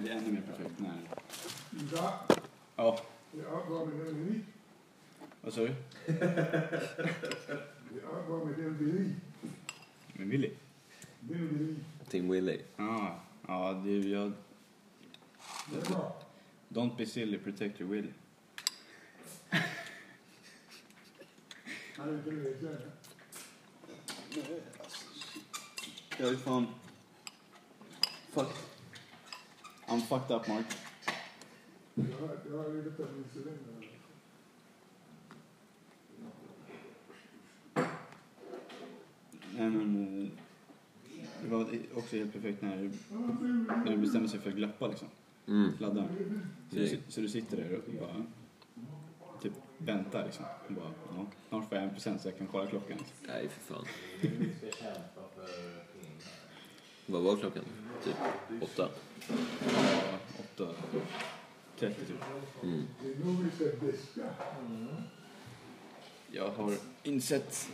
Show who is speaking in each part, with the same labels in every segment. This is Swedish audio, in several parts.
Speaker 1: bli ännu mer perfekt när...
Speaker 2: Ja,
Speaker 1: Ja,
Speaker 2: ja, vad med det ni?
Speaker 1: vad sa du?
Speaker 2: Ja, vad med det ni?
Speaker 1: Med Willy?
Speaker 2: Det ni.
Speaker 3: Tim Willy.
Speaker 1: Ja, ja du, jag...
Speaker 2: Det är bra.
Speaker 1: Don't be silly, protect your Willy.
Speaker 2: Han är inte ledsen.
Speaker 1: Jag är fan... Fuck. I'm fucked up, Mark.
Speaker 2: Jag jag har ju lite av insulin.
Speaker 1: Nej, men... eh, Det var också helt perfekt när, när du bestämmer sig för att glöppa, liksom.
Speaker 3: Mm.
Speaker 1: Ladda. Så, du sit- så du sitter där och bara... Typ väntar, liksom. Och bara, ja, snart får jag en present så jag kan kolla klockan. Liksom.
Speaker 3: Nej, för fan.
Speaker 4: Du ska kämpa för pinnar.
Speaker 3: Vad var klockan? Typ åtta?
Speaker 1: Ja, 8.30 typ.
Speaker 3: Mm.
Speaker 2: Det är nog vi ska diska.
Speaker 1: Jag har insett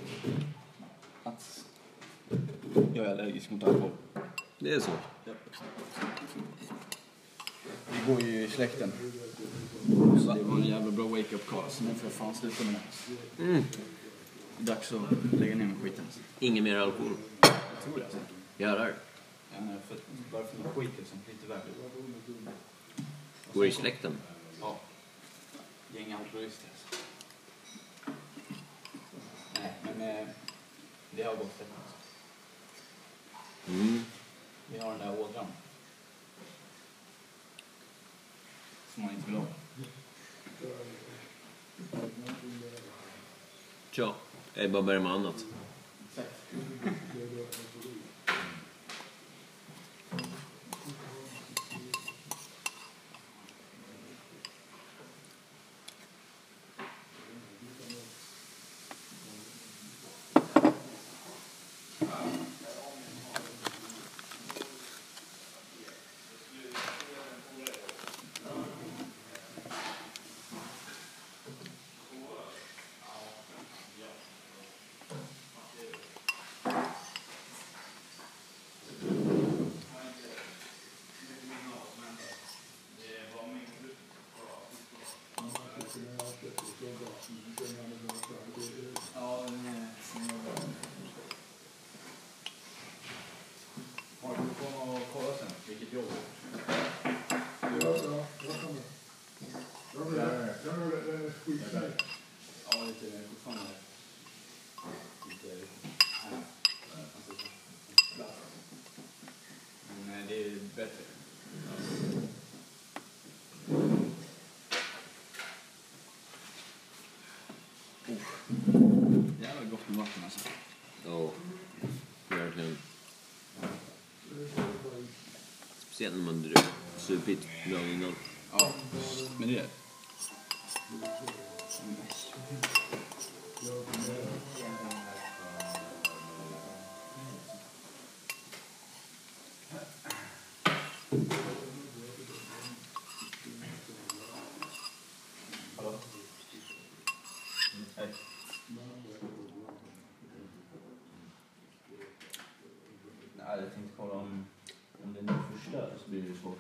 Speaker 1: att jag är allergisk mot alkohol.
Speaker 3: Det är så.
Speaker 1: Det går ju i släkten. Så det var en jävla bra wake-up call, så nu får jag fan sluta med det.
Speaker 3: Mm.
Speaker 1: Dags att lägga ner med skiten.
Speaker 3: Ingen mer alkohol.
Speaker 1: Jag tror det alltså.
Speaker 3: Jävlar.
Speaker 1: Jag menar, för, bara för någon skit liksom, lite värre.
Speaker 3: Går i släkten.
Speaker 1: Ja. Gäng altruister alltså. Nej, men eh, det har gått rätt alltså.
Speaker 3: Mm.
Speaker 1: Vi har den där ådran. Som man inte vill ha.
Speaker 3: Tja. Jag är bara börjar med annat.
Speaker 1: Har du komma och kolla sen vilket jobb
Speaker 2: Ja, ja, jag kommer. Jag vill jag vill- det är skitsnack.
Speaker 1: Ja, lite fortfarande. eh, Lite... Här. Men det är bättre. Jävla gott med vatten alltså.
Speaker 3: Ja. Verkligen. Speciellt när man druckit supit dagen innan.
Speaker 1: Ja, men det är det.
Speaker 4: Nej, jag tänkte kolla om, om den är förstörd så blir det svårt.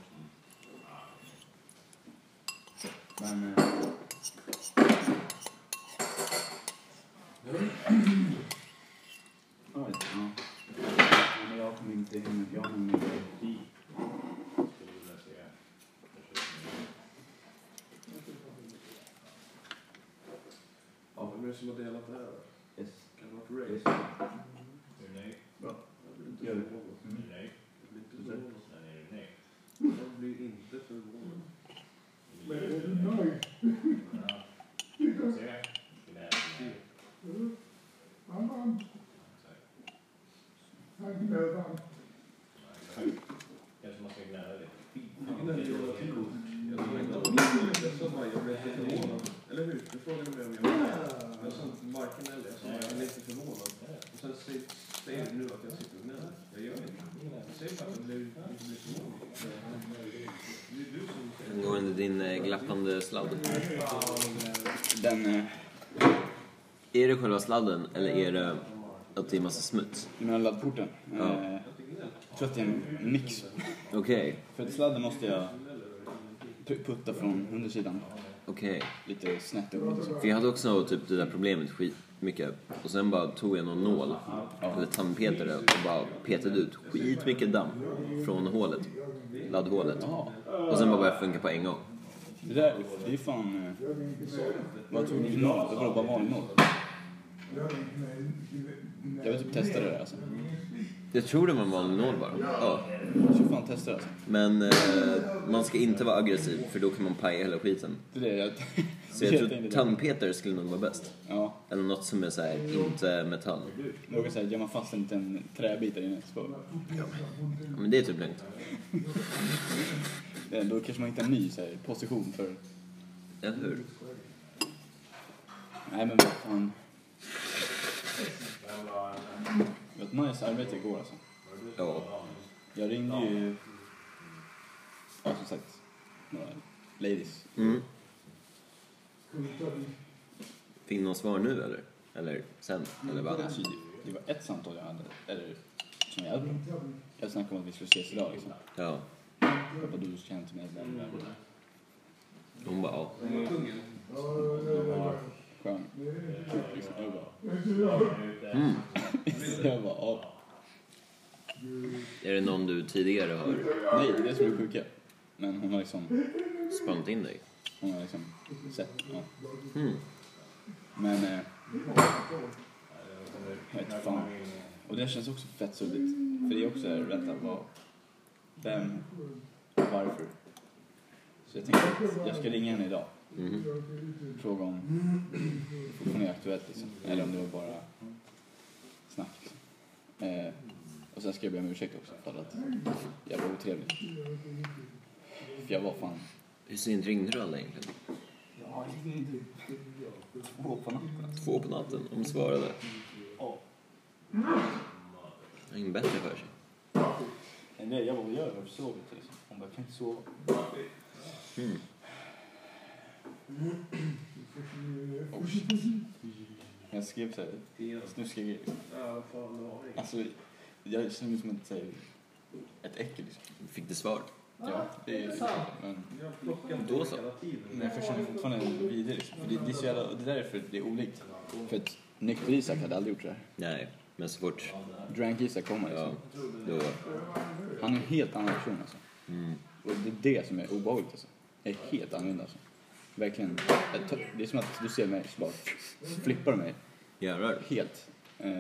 Speaker 4: Men... eh,
Speaker 1: Ja, men jag kommer inte hinna. Jag har min bil.
Speaker 4: Ja,
Speaker 5: Vem är det som har delat det här? då?
Speaker 4: yes.
Speaker 5: Kan det ha varit Ray?
Speaker 4: Yes. Är du nöjd?
Speaker 5: Jag blir inte
Speaker 1: Gör det.
Speaker 5: förvånad.
Speaker 4: Är du nöjd?
Speaker 5: Jag blir inte förvånad.
Speaker 4: Sen är du nöjd.
Speaker 5: Jag blir inte förvånad.
Speaker 2: Men är du nöjd?
Speaker 4: Ja. Ser du? Glädje.
Speaker 2: Han vann. Han gnällde han.
Speaker 4: Kanske man ska gnälla lite.
Speaker 5: Jag gnäller hela tiden. Jag tror inte att det är det som bara- jag blir inte förvånad. Eller hur? Du frågade mig om jag var Men jag sa inte varken eller. Jag sa jag blir inte förvånad. Och sen säger- säger du nu att jag sitter och gnäller. Jag gör inte det. Jag säger bara att jag blir, inte blir förvånad. Det är du som säger
Speaker 3: Angående din eh, glappande sladd.
Speaker 1: Den... eh,
Speaker 3: Är det själva sladden eller är det att det är massa smuts?
Speaker 1: Du menar laddporten?
Speaker 3: Ja.
Speaker 1: Eh, jag tror att det är en mix.
Speaker 3: Okej,
Speaker 1: För att sladden måste jag pu- putta från undersidan
Speaker 3: okej.
Speaker 1: lite snett uppåt och så.
Speaker 3: För jag hade också typ det där problemet skitmycket. Och sen bara tog jag någon nål, eller tandpetare, och bara petade ut skitmycket damm från hålet. Laddhålet.
Speaker 1: Jaha,
Speaker 3: Och sen bara började det funka på en gång.
Speaker 1: det där det är fan... eh, Vad tog du för noll? Det var bara vanlig noll. Jag vill typ testa det där alltså.
Speaker 3: Jag tror det var en vanlig nål bara. Ja.
Speaker 1: Jag ska fan testa det alltså.
Speaker 3: Men eh, man ska inte vara aggressiv för då kan man paja hela skiten.
Speaker 1: Det är det jag...
Speaker 3: Så
Speaker 1: det
Speaker 3: jag
Speaker 1: tänkte
Speaker 3: tror
Speaker 1: på.
Speaker 3: tandpetare skulle nog vara bäst.
Speaker 1: Ja,
Speaker 3: Eller något som är så här, inte metall.
Speaker 1: något såhär, gör man fast en liten träbit där inne så
Speaker 3: Ja, Men det är typ lugnt.
Speaker 1: eh, då kanske man hittar en ny så här, position för...
Speaker 3: Eller hur?
Speaker 1: Nej men vad fan. Det var ett nice arbete igår alltså.
Speaker 3: Ja.
Speaker 1: Jag ringde ju... Ja, som sagt. Några ladies.
Speaker 3: Mm. Fick någon svar nu eller? Eller sen? Eller vad?
Speaker 1: Alltså, det- det var ett samtal jag hade, eller som jag hade. Jag snackade om att vi skulle ses idag liksom.
Speaker 3: Ja.
Speaker 1: Jag bara, du ska hem till mig. bla, bla, bla.
Speaker 3: Hon bara, ja.
Speaker 1: Skön. Kul liksom. Jag bara,
Speaker 3: Mm.
Speaker 1: jag bara, ja.
Speaker 3: Är det någon du tidigare har
Speaker 1: Nej, det är det som är det sjuka. Men hon har liksom,
Speaker 3: spanat in dig?
Speaker 1: hon har liksom sett. Ja.
Speaker 3: Mm.
Speaker 1: Men, eh, jag vet fan. Och det känns också fett suddigt. För det är också såhär, vänta, vad, vem, varför? Så jag tänkte att jag ska ringa henne idag.
Speaker 3: Mhm.
Speaker 1: Fråga om det fortfarande är aktuellt liksom. Eller om det var bara snack liksom. eh, Och sen ska jag be om ursäkt också för att jag var otrevlig. För jag var fan
Speaker 3: Hur sent ringde du alla egentligen?
Speaker 1: två på natten.
Speaker 3: Två på natten. Hon svarade. Jag har inget bättre för sig.
Speaker 1: Nej, jag var jag har sovit liksom. Hon bara, jag kan inte sova.
Speaker 3: Mm.
Speaker 1: Oh, shit. Jag skrev såhär snuskiga grejer.
Speaker 5: Ja, fan, det har jag.
Speaker 1: Alltså, jag känner mig som ett, så här, ett äckel liksom.
Speaker 3: Fick du svar?
Speaker 1: Ja, det är men,
Speaker 5: Jag har plockat
Speaker 3: Då så.
Speaker 5: hela tiden.
Speaker 1: men jag känner mig fortfarande vidare liksom. För det, det är så jävla, och det är därför det är olikt. För att nykter Isak hade aldrig gjort så här.
Speaker 3: Nej, men så fort...
Speaker 1: Drank Isak kommer
Speaker 3: Ja,
Speaker 1: liksom.
Speaker 3: då...
Speaker 1: Han är en helt annan person alltså.
Speaker 3: Mm.
Speaker 1: Och det är det som är obehagligt alltså. Jag är helt annorlunda alltså. Verkligen. Jag tar- Det är som att du ser mig så bara flippar du mig
Speaker 3: Jävlar.
Speaker 1: helt. Eh,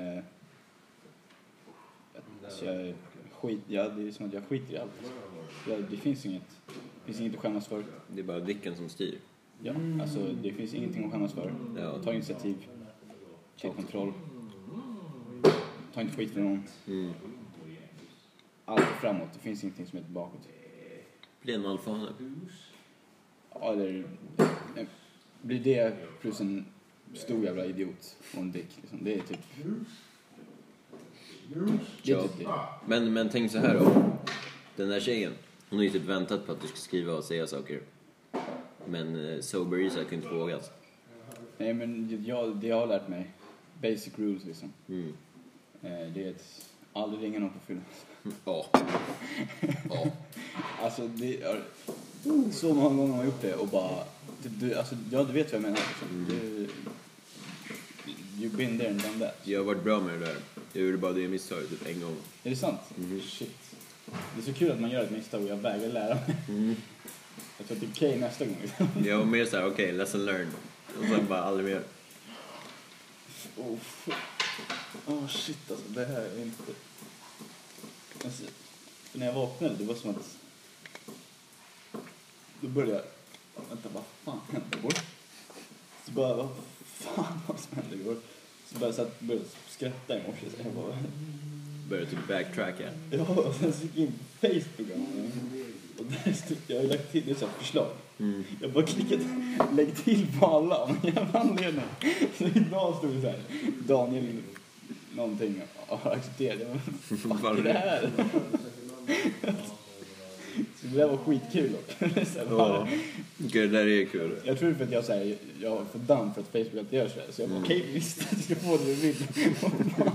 Speaker 1: alltså jag, skit, ja, det är som att jag skiter i allt. alltså. Ja, det finns inget, det finns inget att skämmas för.
Speaker 3: Det är bara dicken som styr.
Speaker 1: Ja, alltså det finns ingenting att skämmas för.
Speaker 3: Ja.
Speaker 1: Ta initiativ. Ta kontroll. Ta inte skit från någon.
Speaker 3: Mm.
Speaker 1: Allt är framåt. Det finns ingenting som är bakåt.
Speaker 3: Bli en alfahane.
Speaker 1: Ja, eller... eh, Blir det plus en stor jävla idiot och en dick liksom. Det är typ... Det är
Speaker 3: Ja.
Speaker 1: typ det.
Speaker 3: Men, men tänk så här då. Den där tjejen, hon har ju typ väntat på att du ska skriva och säga saker. Men eh, sober Isak har inte vågat.
Speaker 1: Nej men jag, det jag har lärt mig. Basic rules liksom.
Speaker 3: Mm.
Speaker 1: Eh, Det är att aldrig ringa någon på fyllan.
Speaker 3: Ja. Ja.
Speaker 1: Alltså det är så många gånger har jag gjort det och bara... Du, du, alltså, ja, du vet vad jag menar. Liksom. Du, you've been there and done that.
Speaker 3: Jag har varit bra med det där. Jag gjorde bara det misstaget typ en gång.
Speaker 1: Är det sant? Shit. Det är så kul att man gör ett misstag och jag vägrar lära mig. Jag tror att det är okej nästa gång. liksom.
Speaker 3: Jag var mer såhär, okej, lesson learned. Och sen bara aldrig mer.
Speaker 1: Oh, fuck. oh shit alltså, det här är inte... Alltså, när jag vaknade, det var som att... Då började jag... Vänta, vad fan hände igår? Så bara, vad fan vad som hände igår? Så började jag så att- började skratta i morse. så Jag bara,
Speaker 3: Började typ backtracka.
Speaker 1: ja, och sen så gick jag in på Facebook. Och där stod, jag har ju lagt till, det är så här förslag.
Speaker 3: Mm.
Speaker 1: Jag bara klickat lägg till på alla av någon jävla anledning. Så idag stod det så här, Daniel någonting har accepterat. Jag bara, Vad är det här? Så det där var skitkul också. Så här, bara-
Speaker 3: Ja. Okej, det där är kul.
Speaker 1: Jag tror det är för att jag, så här, jag har fått damm för att Facebook alltid gör så här. Så
Speaker 3: Mm.
Speaker 1: jag bara, okej visst, du ska få det du vill. Och bara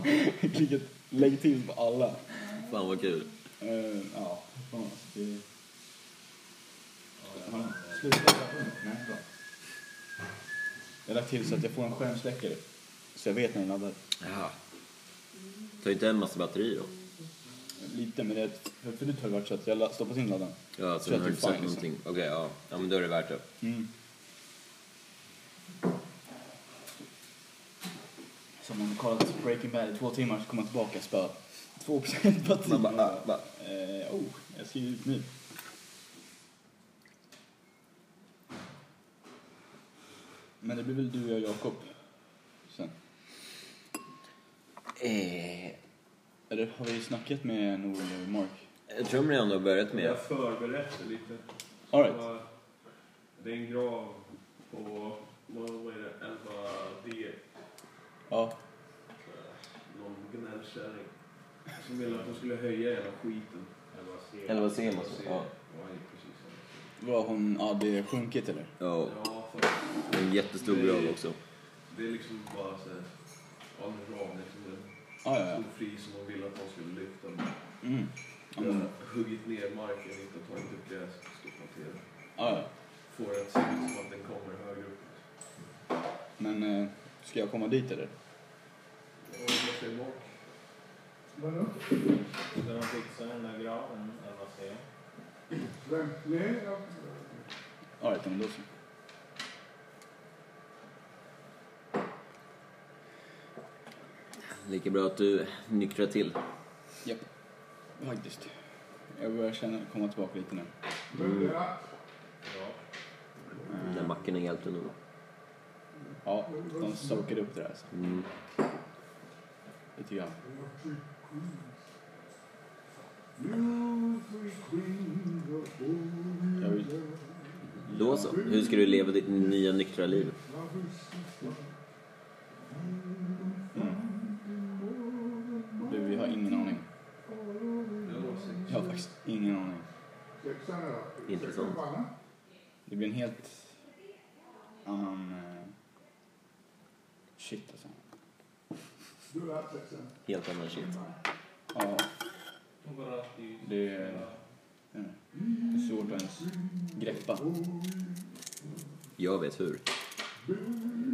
Speaker 1: Klickat lägg till på alla.
Speaker 3: Fan vad kul.
Speaker 1: Eh, ja, fan alltså. Det... Har du- Nej, bra. Jag har lagt till så att jag får en skärmsläckare. Så jag vet när den laddar.
Speaker 3: Jaha. Tar inte en massa batteri då?
Speaker 1: Lite, men det är ett- för- förut har det varit så att jag la- stoppat in laddaren.
Speaker 3: Ja,
Speaker 1: Så
Speaker 3: så den
Speaker 1: att
Speaker 3: har
Speaker 1: det
Speaker 3: inte sagt
Speaker 1: fan, liksom.
Speaker 3: någonting. Okej, ja. ja. men då är det värt det.
Speaker 1: Mm. Som om man kollat Breaking Bad i två timmar så kommer man tillbaka och spöar 2% batteri.
Speaker 3: Man bara, ah, va?
Speaker 1: Eh, oh, jag skriver ut nu. Men det blir väl du och jag, Jakob sen.
Speaker 3: Eh,
Speaker 1: Eller har vi snackat med Norling och Mark?
Speaker 3: jag tror de redan har börjat
Speaker 5: Jag
Speaker 3: med.
Speaker 5: förberett det lite.
Speaker 1: All right.
Speaker 5: Så, Det är en grav på, vad vad är det, 11D.
Speaker 1: Ja.
Speaker 5: Någon gnällkärring. Som ville att de skulle höja hela skiten. 11C.
Speaker 3: Eller vad ser man så?
Speaker 5: Ja,
Speaker 3: Ja.
Speaker 5: precis.
Speaker 1: Var hon... Ja, det är sjunkit eller?
Speaker 3: Ja,
Speaker 5: Ja, för
Speaker 3: det är en jättestor grav också.
Speaker 5: det är liksom bara så här, ja, en ram liksom. En
Speaker 1: Ja, ja, ja.
Speaker 5: stor flis som de ville att de skulle lyfta.
Speaker 1: Mm. Ja,
Speaker 5: Jag
Speaker 1: men,
Speaker 5: har huggit ner marken, inte tagit upp gräs, stoppat ner det.
Speaker 1: ja, ja.
Speaker 5: Får det att se ut som att den kommer högre upp.
Speaker 1: men eh, ska jag komma dit eller?
Speaker 5: Och vad säger Mark?
Speaker 2: Vadå?
Speaker 4: Ska de fixa den där graven, eller vad säger jag?
Speaker 2: Vem? Nej, jag...
Speaker 1: All right, men då så.
Speaker 3: Lika bra att du nyktrar till.
Speaker 1: Japp. Faktiskt. Jag börjar känna, komma tillbaka lite nu.
Speaker 2: Men, ja.
Speaker 3: Den där mackorna hjälpte nog.
Speaker 1: Ja, de soakade upp det där alltså.
Speaker 3: Mm.
Speaker 1: Lite grann.
Speaker 2: Electric Queen. Electric Queen, the
Speaker 1: Jag
Speaker 2: holy
Speaker 1: vill-
Speaker 3: Då så. Hur ska du leva ditt nya nyktra liv?
Speaker 1: Mm. Du, vi har ingen aning.
Speaker 5: Jag har åsikt.
Speaker 1: Jag har faktiskt ingen aning.
Speaker 2: Sexan är det.
Speaker 3: Intressant.
Speaker 2: Sexan vann, va?
Speaker 1: Det blir en helt annan... eh, Shit alltså.
Speaker 2: Du är sexan.
Speaker 3: Helt annan shit.
Speaker 1: Ja,
Speaker 5: Hon bara att det
Speaker 1: det är, det är svårt att ens greppa.
Speaker 3: Jag vet hur.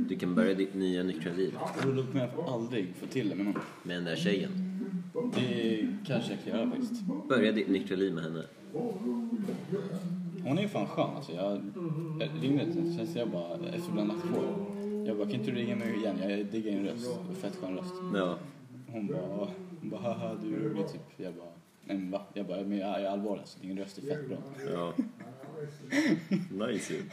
Speaker 3: Du kan börja ditt nya nyktra liv
Speaker 1: Rulla upp mig får aldrig få till det med någon.
Speaker 3: med den där tjejen.
Speaker 1: Det kanske jag kan göra faktiskt.
Speaker 3: Börja ditt nyktra liv med henne.
Speaker 1: Hon är ju fan skön alltså. Jag, jag ringde henne sen så jag bara, efter bland annat på. Jag bara, kan inte du ringa mig igen? Jag diggar din röst. Fett skön röst.
Speaker 3: Ja,
Speaker 1: Hon bara, hon bara haha du är rolig typ. Jag bara, nej men va? Jag bara, men jag är allvarlig alltså. Din röst är fett bra.
Speaker 3: ja. Nice ju.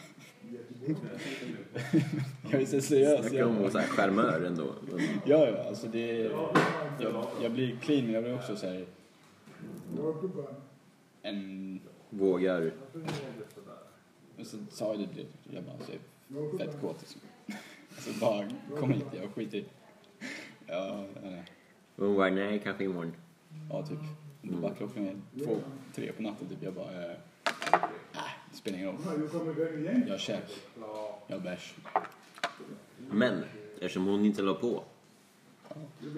Speaker 1: Jag är så seriös.
Speaker 3: Snacka
Speaker 1: Jag
Speaker 3: om
Speaker 1: bara,
Speaker 3: så här charmör ändå. Men
Speaker 1: ja ja, alltså det är, jag, jag blir clean men jag blir också så här en,
Speaker 3: Vågar.
Speaker 1: och så sa jag det, jag bara, så jag är fett kåt liksom. Så bara, kom hit, jag skiter i. Ja, nej.
Speaker 3: Hon var nej, kanske imorgon.
Speaker 1: Ja, typ. Då bara klockan är två, tre på natten typ. Jag bara, eh, äh, det spelar ingen roll.
Speaker 2: Du kommer igång igen.
Speaker 1: Jag har käk, jag har bärs.
Speaker 3: Men eftersom hon inte la på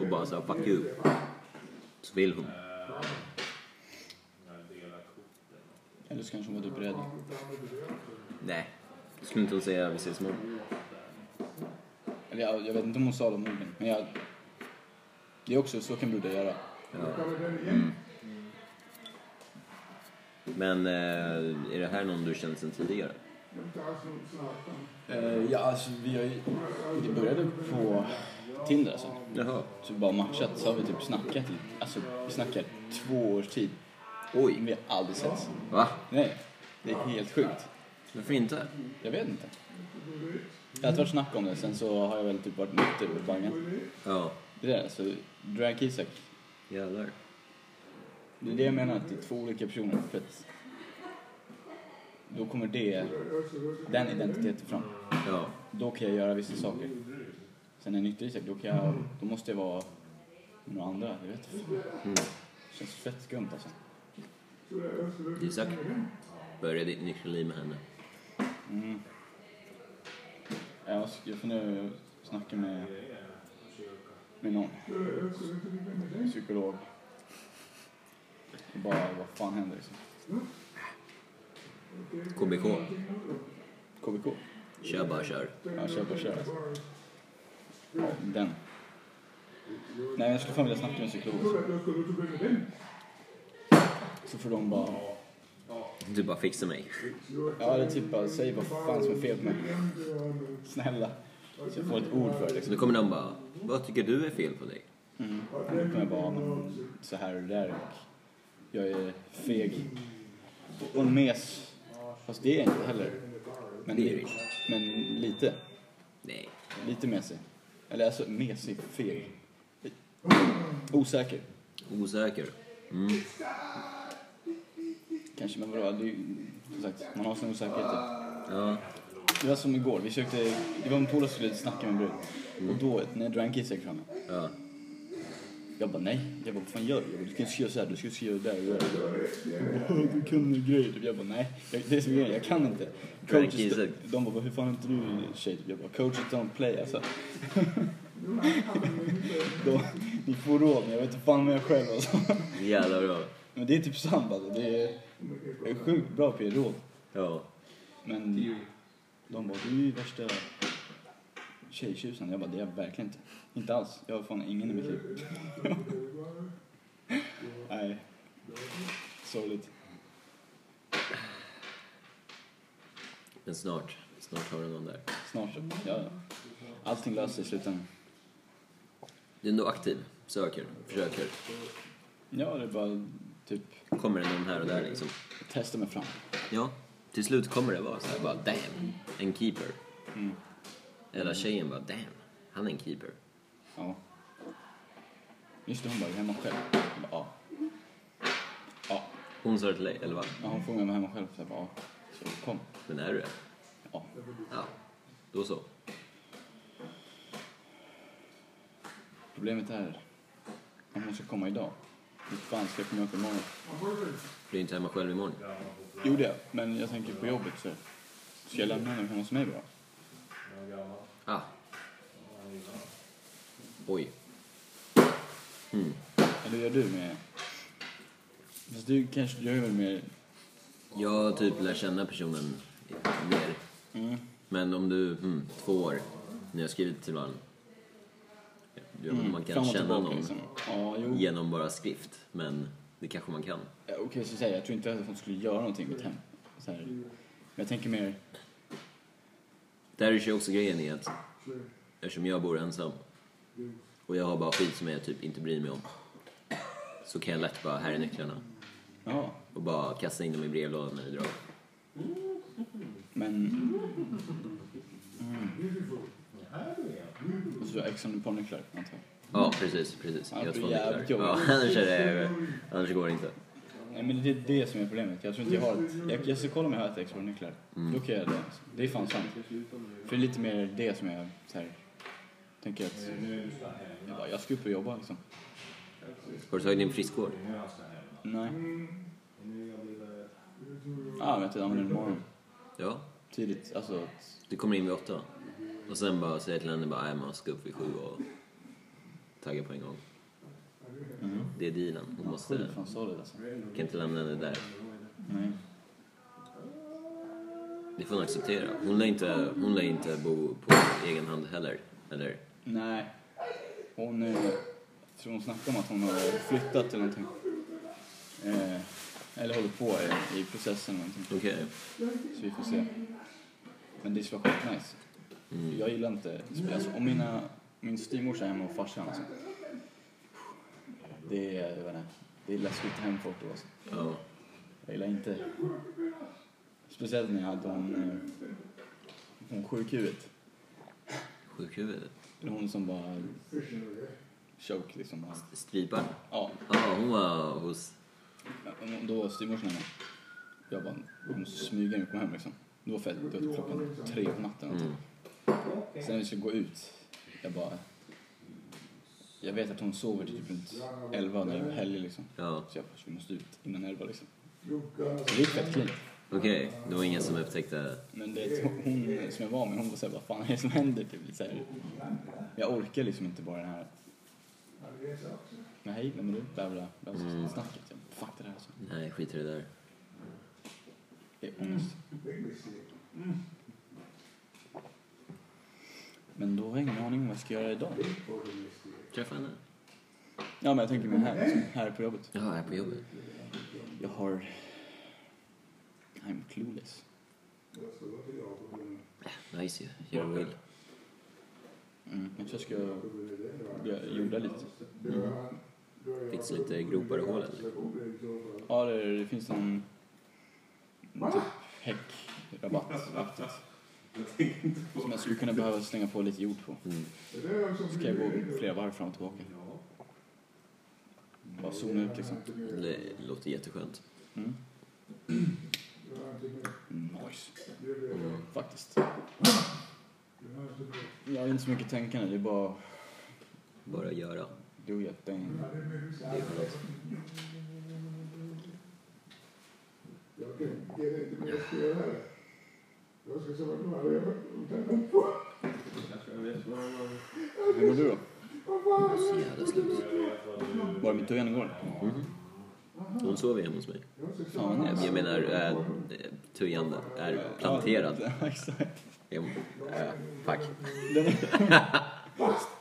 Speaker 3: och bara sa fuck you så vill hon.
Speaker 1: Eller så kanske hon var typ rädd.
Speaker 3: Nej, skulle inte hon säga vi ses imorgon?
Speaker 1: Eller jag, jag vet inte om hon sa de orden, men jag... Det är också, så kan brudar göra.
Speaker 2: Du kommer igång igen.
Speaker 3: Men eh, är det här någon du känt sedan tidigare?
Speaker 2: Jag tar så snart.
Speaker 1: Eh, ja, alltså vi har ju... Det började på Tinder alltså.
Speaker 3: Jaha.
Speaker 1: Så vi bara matchat, så har vi typ snackat i, alltså vi snackar två års tid.
Speaker 3: Oj,
Speaker 1: Vi har aldrig setts.
Speaker 3: va?
Speaker 1: Nej, det är helt sjukt.
Speaker 3: Varför inte?
Speaker 1: Jag vet inte. Det har inte varit snack om det, sen så har jag väl typ varit nykter och bangat.
Speaker 3: Ja,
Speaker 1: Det där, så Drag Isak.
Speaker 3: jävlar.
Speaker 1: Det är det jag menar, att det är två olika personer. För att då kommer det, den identiteten fram.
Speaker 3: Ja,
Speaker 1: Då kan jag göra vissa saker. Sen när jag är nykter Isak, då, kan jag, då måste jag vara med några andra. Jag vet inte.
Speaker 3: Mm.
Speaker 1: Känns fett skumt alltså.
Speaker 3: Isak. Börja ditt nyktra liv med henne.
Speaker 1: Mm. Jag, ska, jag funderar och snacka med, med någon. Psykolog. Och bara, vad fan händer liksom?
Speaker 3: KBK.
Speaker 1: KBK?
Speaker 3: Kör bara kör.
Speaker 1: Ja, kör bara kör. alltså. Ja, den. Nej, jag skulle fan vilja snacka med en psykolog. alltså. Så får de bara...
Speaker 3: Du bara fixar mig.
Speaker 1: Ja, eller typ bara, säg vad fan som är fel på mig. Snälla. Så jag får ett ord för det
Speaker 3: Så
Speaker 1: liksom.
Speaker 3: då kommer de bara, vad tycker du är fel på dig?
Speaker 1: Mm. Då kommer jag bara, ja, men så här och där och jag är feg. Och en mes. Fast det är jag inte heller. Men,
Speaker 3: Det är det.
Speaker 1: men lite.
Speaker 3: Nej.
Speaker 1: Lite mesig. Eller alltså mesig, feg. Osäker.
Speaker 3: Osäker. Mm.
Speaker 1: Kanske, men vadå? Det är ju, som sagt, man har sina osäkerheter.
Speaker 3: Ja.
Speaker 1: Det var som igår, vi sökte, det var en polare som skulle snacka med en brud.
Speaker 3: Mm.
Speaker 1: Och då, när jag drog en kiss framme.
Speaker 3: ja.
Speaker 1: Jag bara nej, jag bara vad fan gör du? Jag bara, du kan ju skriva såhär, du ska ju skriva där och där. Jag bara, Du kan ju grejer. Typ. Jag bara nej, jag, det är som grejen, jag kan inte.
Speaker 3: Dra en
Speaker 1: Coaches,
Speaker 3: kille.
Speaker 1: de bara hur fan är inte du tjej? Typ. Jag bara coaches don't play alltså. de, ni får råd men jag vet inte fan med jag själv alltså.
Speaker 3: Jävla bra.
Speaker 1: Men det är typ sant alltså. Det är, jag är sjukt bra på att ge råd.
Speaker 3: Ja.
Speaker 1: Men de bara du är ju värsta tjejtjusaren. Jag bara det är jag verkligen inte. Inte alls. Jag har fan ingen i mitt liv. Nej. Sorgligt.
Speaker 3: Men snart. Snart har du någon där.
Speaker 1: Snart så. Ja, ja. Allting löser sig i slutändan.
Speaker 3: Du är ändå aktiv. Söker. Försöker.
Speaker 1: Ja, det är bara typ
Speaker 3: Kommer det någon här och där liksom.
Speaker 1: testa mig fram.
Speaker 3: Ja. Till slut kommer det vara så här bara damn. En keeper.
Speaker 1: Mm.
Speaker 3: Eller tjejen bara damn. Han är en keeper.
Speaker 1: Ja. Just det, hon bara, är hemma själv? Jag bara, ja. Ja.
Speaker 3: Hon sa det till dig, eller vad?
Speaker 1: ja, hon frågade om jag var hemma själv. Så jag bara, ja. Så kom.
Speaker 3: Men är du det?
Speaker 1: Ja.
Speaker 3: Ja. Då så.
Speaker 1: Problemet är, man måste komma idag. Hur fan ska jag komma upp imorgon?
Speaker 3: Du är inte hemma själv imorgon.
Speaker 1: Jo det, men jag tänker på jobbet så. Ska jag lämna henne hemma hos mig bara?
Speaker 3: Ah. Oj.
Speaker 1: Eller gör du med... Fast du kanske gör väl mer...
Speaker 3: Jag typ lär känna personen mer.
Speaker 1: Mm.
Speaker 3: Men om du, mm, två år, när jag skrivit till varandra. Ja, men Man kan
Speaker 1: Mm. Fram och
Speaker 3: känna
Speaker 1: tillbaka,
Speaker 3: någon
Speaker 1: liksom. Ja, jo.
Speaker 3: genom bara skrift, men det kanske man kan.
Speaker 1: Ja, Okej, så säger jag. Jag tror inte att hon skulle göra någonting i mitt hem. Så här. Men jag tänker mer...
Speaker 3: Där är ju också grejen i att eftersom jag bor ensam och jag har bara skit som jag typ inte bryr mig om så kan jag lätt bara, här är nycklarna
Speaker 1: Ja,
Speaker 3: och bara kasta in dem i brevlådan när vi drar.
Speaker 1: men... Mm. Och så Ex on the Pony-nycklar, antar jag.
Speaker 3: Ja, precis, precis.
Speaker 1: Ja,
Speaker 3: Jag har
Speaker 1: det är
Speaker 3: två
Speaker 1: jävligt
Speaker 3: nycklar. Ja,
Speaker 1: jobbigt.
Speaker 3: annars, är det, annars går det inte.
Speaker 1: Nej, men det är det som är problemet. Jag tror inte jag har ett... Jag, jag ska kolla om jag har ett ex på nycklar. Då kan jag göra det. alltså. Det är fan sant. För det är lite mer det som jag så här, tänker att... Jag, bara, jag ska upp och jobba liksom.
Speaker 3: Har du tagit din friskvård?
Speaker 1: Nej. Ah, vet du, jag använder den imorgon.
Speaker 3: Ja.
Speaker 1: Tidigt, alltså... att-
Speaker 3: Du kommer in vid åtta. Och sen bara säger till henne bara, nej man ska upp vid sju och tagga på en gång.
Speaker 1: Mm.
Speaker 3: Det är dealen. Hon måste,
Speaker 1: Sjukt fan solid alltså.
Speaker 3: kan inte lämna henne där.
Speaker 1: Nej.
Speaker 3: Det får hon acceptera. Hon lär inte, hon lär inte bo på egen hand heller. Eller?
Speaker 1: Nej. Hon är... Jag tror hon snackade om att hon har flyttat eller någonting. Eh, eller håller på i, i processen eller någonting.
Speaker 3: Okej.
Speaker 1: Så vi får se. Men det skulle vara skitnice.
Speaker 3: Mm.
Speaker 1: Jag gillar inte... Alltså, om mina, min styvmorsa är hemma och farsan alltså. Det är... Jag vet inte, det är läskigt hem för oss.
Speaker 3: Ja.
Speaker 1: Jag gillar inte... Speciellt när jag hade hon... eh, Hon sjukhuvudet.
Speaker 3: Sjukhuvudet.
Speaker 1: Eller hon som bara... Choke liksom. bara-
Speaker 3: Striparen.
Speaker 1: Ja,
Speaker 3: Ja, hon var hos...
Speaker 1: Om- Då var styvmorsan hemma. Jag bara, hon smyger och kom hem liksom. Det var fett, det var klockan tre på natten. alltså.
Speaker 3: Mm.
Speaker 1: Sen när vi skulle gå ut, jag bara... Jag vet att hon sover till typ runt elva när det var helg liksom.
Speaker 3: Ja.
Speaker 1: Så jag bara, vi måste ut innan elva liksom. Så det gick fett clean.
Speaker 3: Okej. Det var ingen som upptäckte...
Speaker 1: Men det, typ hon som jag var med, hon var såhär, vad fan är det som händer? Typ, lite så här. Jag orkar liksom inte bara den här... Nej, nej men du, bla bla, bla,
Speaker 3: Mm.
Speaker 1: snacket. Jag bara, Fuck det där. alltså.
Speaker 3: Nej, skit i det där.
Speaker 1: Det är ångest. Men då har jag ingen aning om vad jag ska göra idag.
Speaker 3: Träffa henne.
Speaker 1: Ja, men jag tänker mig här, liksom, här på jobbet.
Speaker 3: Jaha, här på jobbet.
Speaker 1: Jag har... I'm clueless.
Speaker 3: Nice ju. Gör vad du vill.
Speaker 1: Mm. Jag tror jag ska börja jorda lite.
Speaker 3: Fixa Mm. lite gropar i hålen. eller?
Speaker 1: Ja, det, det finns någon... någon Typ häckrabatt-aktigt. Som jag skulle kunna behöva slänga på lite jord på.
Speaker 3: Mm.
Speaker 1: Ska jag gå flera varv fram och tillbaka. Bara zona ut liksom.
Speaker 3: Det låter jätteskönt.
Speaker 1: Mm. Nice.
Speaker 3: Mm.
Speaker 1: Faktiskt. Jag har inte så mycket tänkande. Det är bara
Speaker 3: Bara göra.
Speaker 1: do your
Speaker 2: Ờ,
Speaker 1: thing.
Speaker 2: Jag ger inte mer att göra här. Jag ska se vad du har
Speaker 5: Jag tror jag vet vad man...
Speaker 1: Hur mår du då?
Speaker 3: Jag är så jävla slut. Mm-hmm.
Speaker 1: Var det mitt i igår?
Speaker 3: Hon sover hemma hos mig.
Speaker 1: Fan vad nice.
Speaker 3: Jag menar,
Speaker 2: ờ,
Speaker 3: äh, eh, tujan är planterad.
Speaker 1: Ja, exakt.
Speaker 3: Jo, äh, fuck.
Speaker 1: Den är...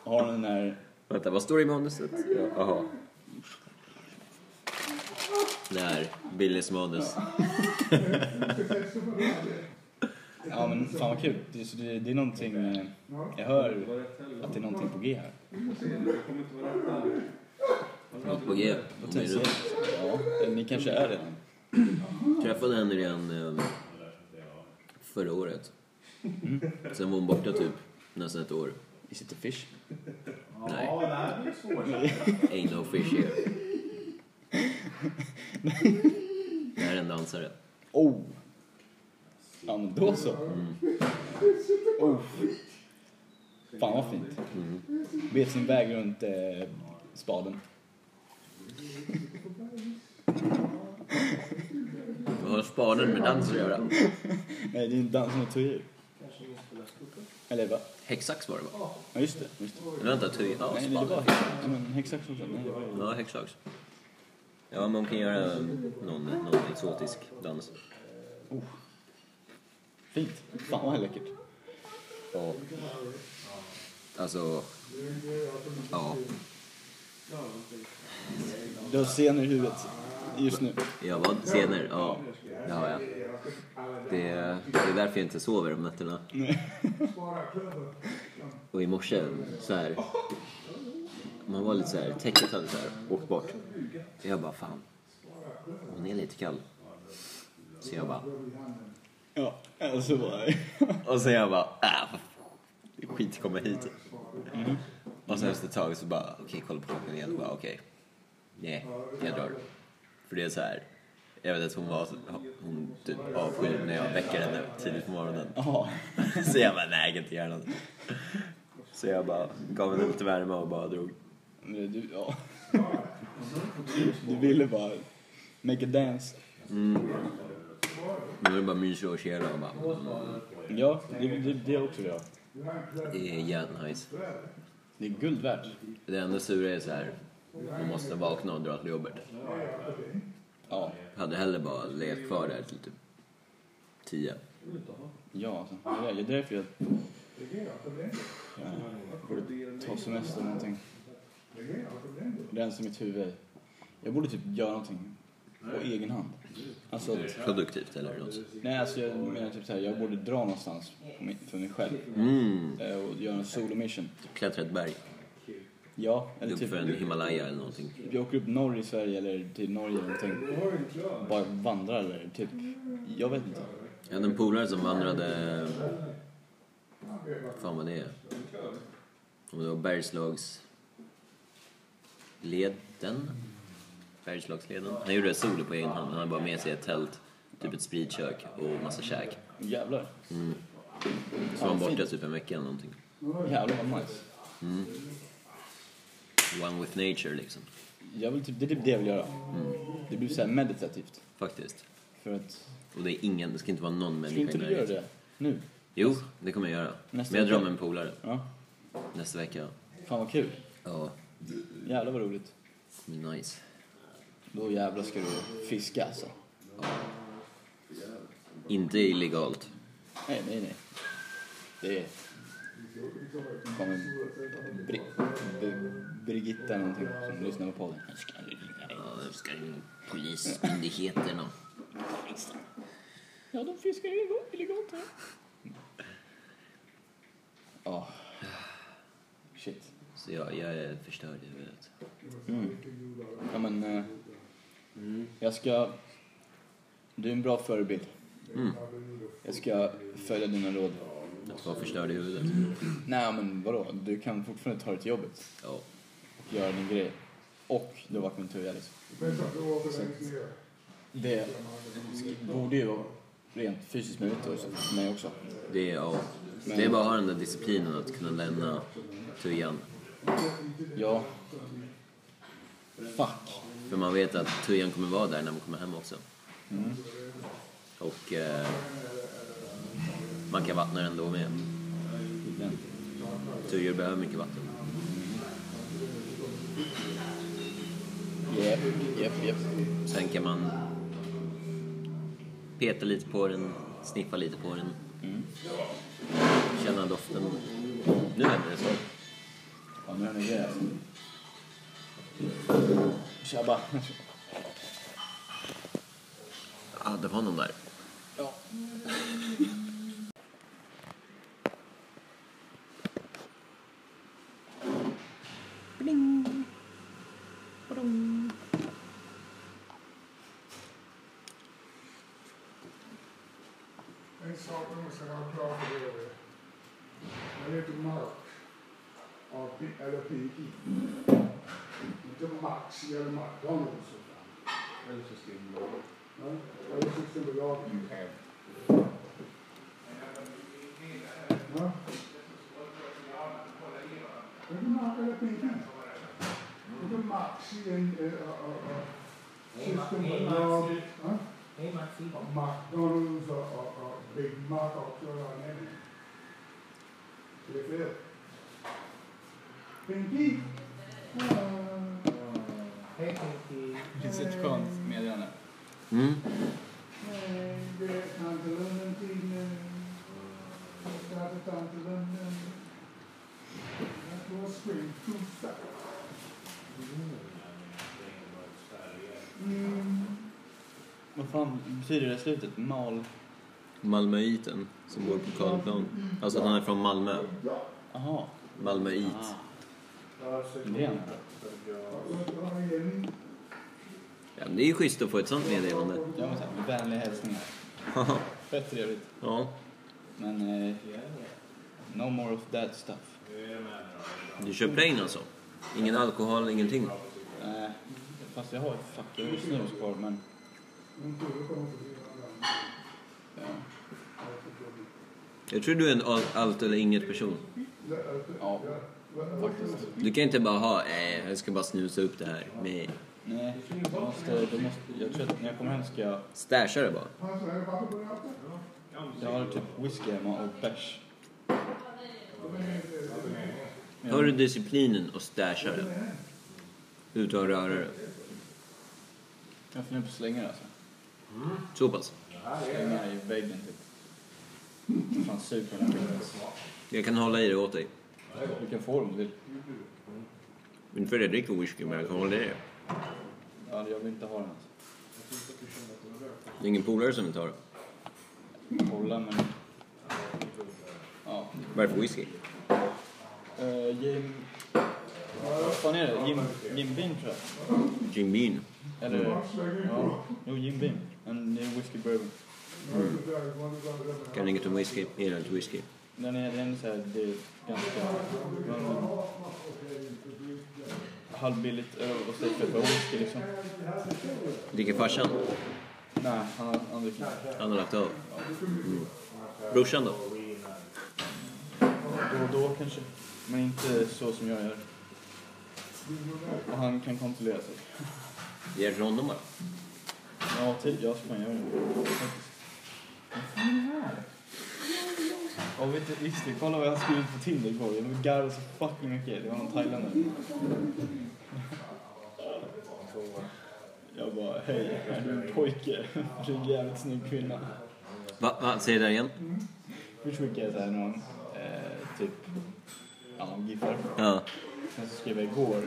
Speaker 1: Har den där...
Speaker 3: Vänta, vad står det i manuset? Ja, Jaha. Där, Billys manus.
Speaker 1: Ja men fan vad kul. Det, är- det, är- det är någonting... eh, Jag hör
Speaker 5: Var rätt heller.
Speaker 1: att det är någonting på G här.
Speaker 5: Det kommer inte vara rätt heller.
Speaker 3: Något på G. Hon är runt.
Speaker 1: Potentiellt. Ja, eller ni kanske är redan.
Speaker 3: träffade henne redan eh, förra året. Sen var hon borta typ nästan ett år.
Speaker 1: Is it a fish?
Speaker 3: Nej,
Speaker 4: Ja, det här blir svårt.
Speaker 3: ain't no fish here. Det här är en dansare.
Speaker 1: Oh! Ja men då så.
Speaker 3: Mm.
Speaker 1: Oh. Fan vad fint.
Speaker 3: Mm.
Speaker 1: Bet sin väg runt eh, spaden.
Speaker 3: Vad har spaden med dans att göra?
Speaker 1: Nej, det är en dans med tujor. Eller va?
Speaker 3: Häcksax var det va?
Speaker 1: Ja just det. Just det.
Speaker 3: Men Vänta, tuj. Ja,
Speaker 1: Nej, det var
Speaker 3: spaden.
Speaker 1: ja, men häxsax också. Nej, det var ju-
Speaker 3: Ja, häcksax. Ja, men hon kan göra eh, någon, någon exotisk dans.
Speaker 1: Fint. Fan vad läckert.
Speaker 3: Ja. Alltså, ja.
Speaker 1: Du har scener i huvudet just nu.
Speaker 3: Jag var senare, ja. Det har jag. Det är, det är därför jag inte sover om nätterna. Och i morse, så här. Man var lite så här, täcket hade så här åkt bort. Jag bara, fan. Hon är lite kall. Så jag bara,
Speaker 1: Ja, alltså bara...
Speaker 3: och sen jag bara, äh, vad fan, skit komma hit. Och sen efter ett tag så bara, okej, kolla på klockan igen. Och bara, okej. Nej, jag drar. För det är så här, jag vet att hon var, hon typ avskyr när jag väcker henne tidigt på morgonen.
Speaker 1: Ja.
Speaker 3: Så jag bara, nej jag kan inte göra något. Så jag bara gav henne lite värme och bara drog.
Speaker 1: Men Du, ja. du ville bara make a dance.
Speaker 3: Nu är det bara mysig och chilla och bara, mm,
Speaker 1: Ja, det, det, det är också det.
Speaker 3: det är jävligt nice.
Speaker 1: Det är guld värt.
Speaker 3: Det enda sura är så här, man måste vakna och dra till jobbet.
Speaker 1: Ja,
Speaker 3: Jag hade hellre bara levt kvar där till typ tio.
Speaker 1: ja alltså. Det är- det är därför jag... Jag borde ta semester eller någonting. Rensa mitt huvud. Jag borde typ göra någonting på egen hand. Alltså att...
Speaker 3: Produktivt eller något.
Speaker 1: Nej, alltså jag menar typ så här, jag borde dra någonstans på min- för mig själv
Speaker 3: Mm,
Speaker 1: eh, och göra en solomission.
Speaker 3: klättra ett berg.
Speaker 1: Ja, eller
Speaker 3: Upp
Speaker 1: typ
Speaker 3: för en Himalaya eller någonting.
Speaker 1: jag åker upp norr i Sverige eller till Norge eller någonting. Bara vandrar eller typ, jag vet inte.
Speaker 3: Jag hade en polare som vandrade... fan vad det är. Om det var Bergslagsleden? Bergslagsleden? Han gjorde det solo på egen hand. Han hade bara med sig ett tält, typ ett spritkök och massa käk.
Speaker 1: Jävlar,
Speaker 3: Så var han
Speaker 1: Ja,
Speaker 3: borta
Speaker 1: fint.
Speaker 3: typ en vecka eller någonting.
Speaker 1: jävlar vad nice.
Speaker 3: One with nature liksom.
Speaker 1: Jag vill typ, det är typ det jag vill göra. Det blir så här meditativt.
Speaker 3: Faktiskt.
Speaker 1: För att,
Speaker 3: Och det är ingen, det ska inte vara någon
Speaker 1: skulle
Speaker 3: människa
Speaker 1: inte du göra det nu?
Speaker 3: Jo, det kommer jag göra.
Speaker 1: Nästa
Speaker 3: Men jag drar
Speaker 1: vecka.
Speaker 3: med en polare
Speaker 1: Ja,
Speaker 3: nästa vecka.
Speaker 1: fan vad kul.
Speaker 3: Ja,
Speaker 1: Jävlar vad roligt.
Speaker 3: nice.
Speaker 1: Det Då jävlar ska du fiska alltså.
Speaker 3: Inte illegalt.
Speaker 1: Nej, nej, nej. Det är... kommer Bri... Bri... Brigitta någonting som lyssnar på podden.
Speaker 3: Jag ska, jag ska in polismyndigheterna.
Speaker 1: Ja, de fiskar illegalt, illegalt här. Ja. Shit.
Speaker 3: Så jag, jag är förstörd i huvudet.
Speaker 1: Ja, men... eh, Jag ska... Du är en bra förebild.
Speaker 3: Mm.
Speaker 1: Jag ska följa dina råd.
Speaker 3: Att vara förstörd i huvudet.
Speaker 1: Nej, men vadå? Du kan fortfarande ta dig till jobbet
Speaker 3: Ja.
Speaker 1: och göra din grej. Och du har varit min tuja liksom.
Speaker 2: Men så att du åker längst ner.
Speaker 1: Det borde ju vara rent fysiskt möjligt då, så för mig också.
Speaker 3: Det är, ja. det är bara att ha den där disciplinen att kunna lämna tujan.
Speaker 1: Ja. Fuck.
Speaker 3: För man vet att tujan kommer vara där när man kommer hem också. Mm. Och eh, man kan vattna den då med.
Speaker 1: Den.
Speaker 3: Tujor behöver mycket vatten.
Speaker 1: Japp, japp, japp.
Speaker 3: Sen kan man peta lite på den, sniffa lite på den. Känna doften. Nu händer det så.
Speaker 1: Ja, nu är det grej alltså. Tjabba.
Speaker 3: Ja, det var någon där.
Speaker 1: Ja.
Speaker 2: En sak vi måste ha klart för er. När det är mark av P- eller PI. Inte Max eller McDonalds.
Speaker 5: Eller så skriver man.
Speaker 2: Ja, Eller Systembolaget. Ja. Är det mark eller PI? Inte Max i en... eh, eh, eh, Systembolaget. Ja.
Speaker 4: Hej Maxi.
Speaker 2: Och McDonalds och, och, och Big Mac och så där nere. Det är fel. Pinky!
Speaker 4: Hej Pinky.
Speaker 1: Det är ett skönt meddelande.
Speaker 3: Mm.
Speaker 2: Det är Tante Lunden till... Tante Tante Lunden. That was spring too fast. Mm.
Speaker 1: Vad fan betyder det slutet? Mal...
Speaker 3: Malmöiten som bor på Karlplan. Alltså han är från Malmö.
Speaker 1: Aha.
Speaker 3: Malmöit.
Speaker 1: Ah. Gren.
Speaker 3: Ja, men det är ju schysst att få ett sånt meddelande.
Speaker 1: Ja, men så här, vänliga hälsningar. Fett trevligt.
Speaker 3: ja,
Speaker 1: Men... Eh, no more of that stuff.
Speaker 3: du köpte in alltså? Ingen alkohol, ingenting?
Speaker 1: Nej. Eh, Fast jag har ju fuck, jag har ju snus kvar men... Ja.
Speaker 3: Jag tror du är en all- allt eller inget person.
Speaker 1: ja, faktiskt.
Speaker 3: Du kan inte bara ha, eh, jag ska bara snusa upp det här. Nej.
Speaker 1: Nej, jag måste, då måste, jag tror att när jag kommer hem ska jag...
Speaker 3: Stasha det bara.
Speaker 1: Jag har typ whisky hemma och bärs.
Speaker 3: Har du disciplinen och stashar det. Utan att röra det.
Speaker 1: Jag funderar på att slänga det alltså.
Speaker 3: Så pass.
Speaker 1: Slänga det i väggen typ. Jag fan sug på den här skiten.
Speaker 3: Jag kan hålla i det åt dig.
Speaker 1: Du kan få dem om du vill.
Speaker 3: Inte för att jag dricker whisky, men jag kan hålla i det.
Speaker 1: Ja, jag vill inte ha den alltså.
Speaker 3: Det är ingen polare som vill ta det.
Speaker 1: Kolla men... Ja.
Speaker 3: Varför whisky?
Speaker 1: Uh, Jim... Vad fan är det? Jim, Jim Beam tror jag.
Speaker 3: Jim Bean.
Speaker 2: Mm.
Speaker 1: Eller... Ja. Jo, Jim Beam. En ny whisky bourbon.
Speaker 3: Kan inget om whisky. Gillar inte whisky.
Speaker 1: Den är, den är så här, det är ganska... Man, halvbilligt öl och så köpa whisky liksom.
Speaker 3: Dricker farsan?
Speaker 1: Nej, han, han dricker inte.
Speaker 3: Han har lagt av. Mm. Brorsan då?
Speaker 1: Då och då kanske. Men inte så som jag gör. Och han kan kontrollera sig.
Speaker 3: Ger till honom bara.
Speaker 1: Ja, typ. Jag ska fan göra det. Faktiskt. Vad fan är det här? Ja, vet du, just det. Kolla vad jag skrivit på Tinder igår. Jag garvade så fucking mycket. Det var någon thailändare. Jag Hej, pojke. Du är en jävligt snygg kvinna.
Speaker 3: Va, va, säg det där igen.
Speaker 1: Först skickar jag såhär någon, eh, typ, ja, någon giffar.
Speaker 3: Ja,
Speaker 1: Sen så skrev jag igår,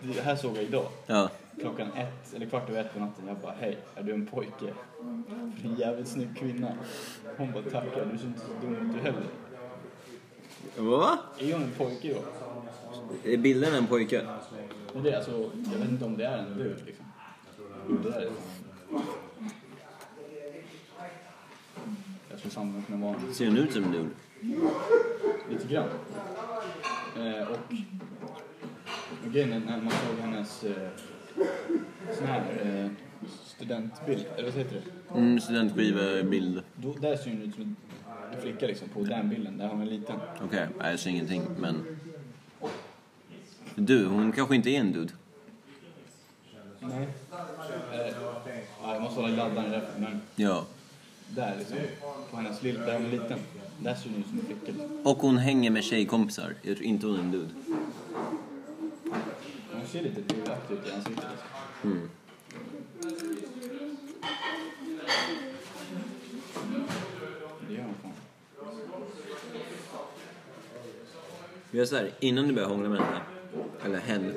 Speaker 1: det här såg jag idag.
Speaker 3: ja.
Speaker 1: Klockan ett, eller kvart över ett på natten. Jag bara, hej, är du en pojke? Du är en jävligt snygg kvinna. Hon bara, tackar, du ser inte så dum ut du heller.
Speaker 3: Va?
Speaker 1: Är hon en pojke då?
Speaker 3: Är bilden en pojke?
Speaker 1: Och det är alltså, jag vet inte om det är en du liksom. Det där är Jag skulle sannolikt kunna vara en
Speaker 3: Ser den ut som en dude?
Speaker 1: lite grann. Eh, och, och grejen är när man såg hennes eh, sån här eh, studentbild, eller vad heter det?
Speaker 3: Mm, studentskivebild.
Speaker 1: Då, där ser hon ut som en flicka liksom, på den bilden. Där har hon en liten.
Speaker 3: Okej, nej jag ser ingenting men... Du, hon kanske inte är en dude.
Speaker 1: Nej. Eh, ja, jag måste hålla laddaren rätt, men
Speaker 3: Ja.
Speaker 1: där liksom, på hennes lill, där har hon en liten. Där ser hon ut som en flicka. Liksom.
Speaker 3: Och hon hänger med tjejkompisar. Är inte hon en dude?
Speaker 1: Hon ser lite duvaktig ut i ansiktet. Liksom. Det gör hon fan.
Speaker 3: Vi gör såhär, innan du börjar hångla med henne. Eller hen.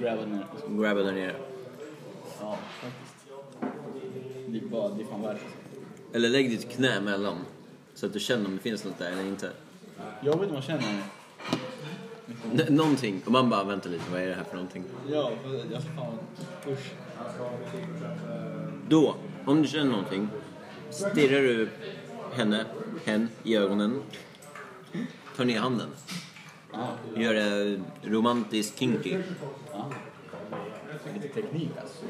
Speaker 1: Grabbar ner.
Speaker 3: Grabba där nere.
Speaker 1: Ja, faktiskt. Det är, bara, det är fan värt det.
Speaker 3: Eller lägg ditt knä mellan. Så att du känner om det finns något där eller inte.
Speaker 1: Jobbigt om man känner
Speaker 3: N- någonting. Och man bara, vänta lite, vad är det här för någonting?
Speaker 1: Ja, för jag ska fan... Usch.
Speaker 3: Då, om du känner någonting, stirrar du henne, hen, i ögonen. Tar ner handen. Gör det romantiskt kinky.
Speaker 1: Lite teknik alltså.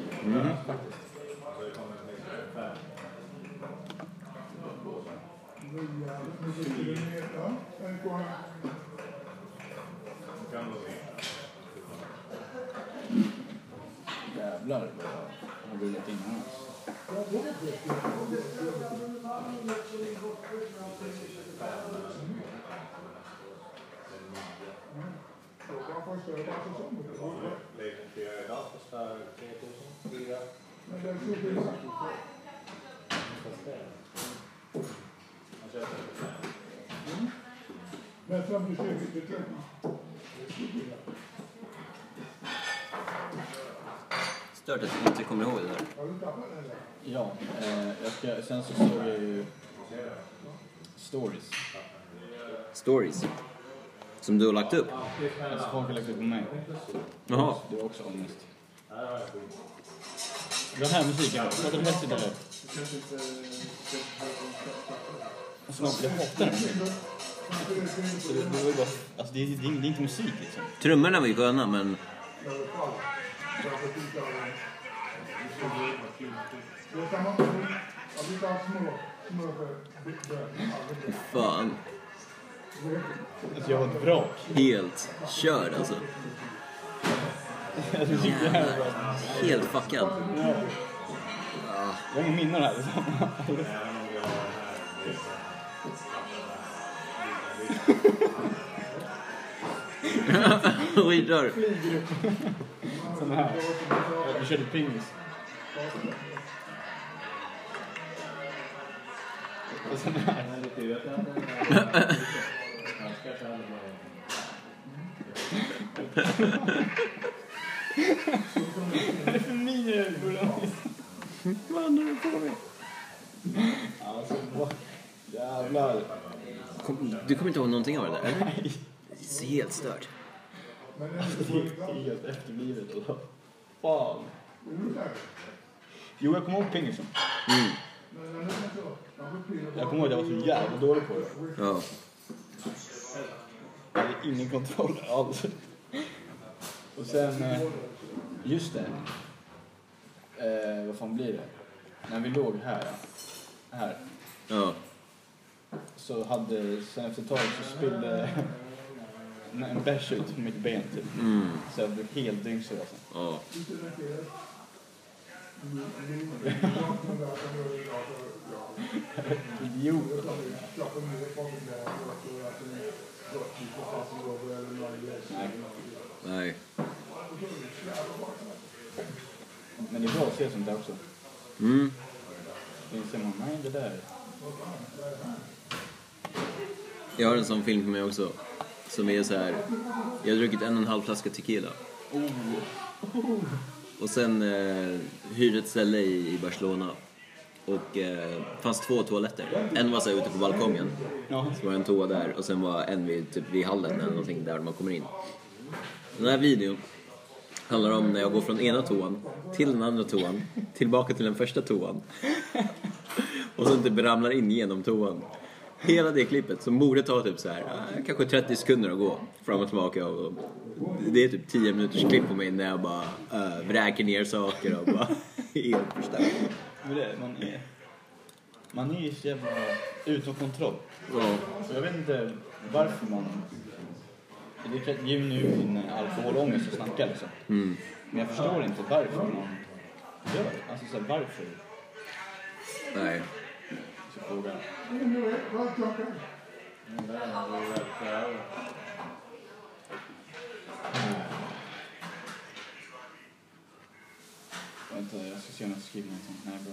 Speaker 1: Jävlar vad jag har rullat in här alltså.
Speaker 2: Men fram till sekelskiftet.
Speaker 3: Stört att du inte kommer ihåg det där.
Speaker 2: Har du tappat den där?
Speaker 1: Ja, eh, jag ska, sen så såg jag ju stories.
Speaker 3: Stories. Som du har lagt upp.
Speaker 1: Alltså folk har lagt upp på mig.
Speaker 3: Jaha.
Speaker 1: Det var också ångest. Den här musiken, låter den häftigt eller? Alltså man, jag hatar den. Så det, det var ju bara, alltså det, är- det, är- det är inte musik liksom.
Speaker 3: Trummorna var ju sköna, men
Speaker 2: Då kan man inte... Jag brukar ha små... små...
Speaker 3: fan.
Speaker 1: Alltså jag var ett vrak.
Speaker 3: Helt körd alltså.
Speaker 1: Alltså musik, det här var bra.
Speaker 3: Helt fuckad.
Speaker 1: Jag har inga minnen av det här liksom.
Speaker 3: Skitdörr.
Speaker 1: Sån här. Ja, Vi körde pingis. Och sån här. Vad är det för miner i ögonen? Vad håller du på med? Alltså, vad... Jävlar.
Speaker 3: Kom, du kommer inte ihåg någonting av det där? eller? Det är helt stört.
Speaker 1: Det är helt efterblivet. Alltså. Fan. Jo, jag kommer ihåg pingisen. Jag kommer ihåg att jag var så jävla dålig på det.
Speaker 3: Ja.
Speaker 1: Jag hade ingen kontroll alls. Och sen... eh, Just det. Eh, vad fan blir det? När vi låg här, ja. här
Speaker 3: Ja.
Speaker 1: så hade... Sen efter ett tag så spillde en bärs ut på mitt ben typ. Så jag blev helt dyngsur alltså.
Speaker 3: Mm, ja.
Speaker 1: Idiot. Nej.
Speaker 3: Nej.
Speaker 1: Men det är bra att se sånt där också.
Speaker 3: Mm.
Speaker 1: Då inser man, nej det där.
Speaker 3: Jag har en sån film på mig också. Som är så här. Jag har druckit en och en halv flaska tequila. Och sen eh, hyrde ett ställe i, i Barcelona. Och eh, fanns två toaletter. En var så här ute på balkongen. Så var det en toa där och sen var en vid, typ, vid hallen eller någonting där man kommer in. Den här videon handlar om när jag går från ena toan till den andra toan, tillbaka till den första toan. Och sen typ ramlar in genom toan. Hela det klippet som borde ta typ så här, eh, kanske 30 sekunder att gå fram och tillbaka. Och det är typ 10 minuters klipp på mig när jag bara eh, vräker ner saker och bara helt förstörd.
Speaker 1: Men det, man är... Man är ju så jävla utom kontroll.
Speaker 3: Ja.
Speaker 1: Så jag vet inte varför man... Det är klart, det är ju nu min alkoholångest att snacka liksom.
Speaker 3: Mm.
Speaker 1: Men jag förstår inte varför man gör det. Alltså så här, varför?
Speaker 3: Nej.
Speaker 1: Så frågar jag. Vänta, jag ska se om jag ska skriva någonting. Nej, bra.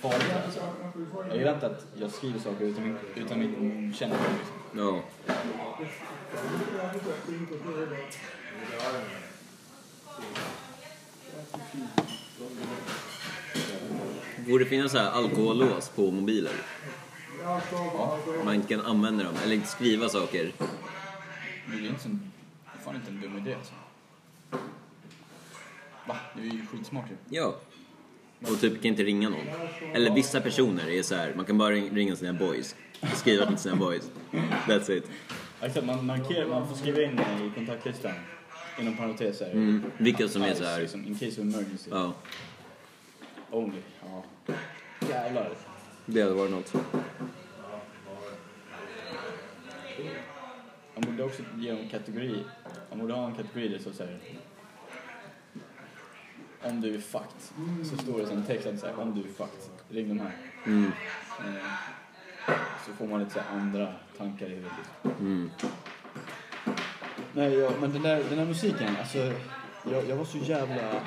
Speaker 1: Farligt alltså. Jag gillar inte att jag skriver saker utan min, utan min kännedom. Liksom.
Speaker 3: Ja. Borde finnas så här alkohollås på mobiler. Man inte kan använda dem, eller inte skriva saker.
Speaker 1: Men det är inte så, det är fan inte en dum idé alltså. Va? Det är ju skitsmart ju.
Speaker 3: Ja. Och typ kan inte ringa någon. Eller vissa personer är så här, man kan bara ring- ringa sina boys. Skriva till sina boys. That's it.
Speaker 1: Exakt, man markerar, man får skriva in det i kontaktlistan. Inom parentes
Speaker 3: Mm. Vilka som är så här,
Speaker 1: Liksom, in case of emergency.
Speaker 3: ja.
Speaker 1: Only. Ja. Jävlar.
Speaker 3: Det hade varit något.
Speaker 1: Man borde också ge en kategori. Man borde ha en kategori där så säger om du är fucked, så står det som text att säga om du är fucked, ring de här.
Speaker 3: Mm.
Speaker 1: Eh, Så får man lite så här andra tankar i huvudet.
Speaker 3: Mm.
Speaker 1: Nej, ja, men den där, den där musiken, alltså jag, jag var så jävla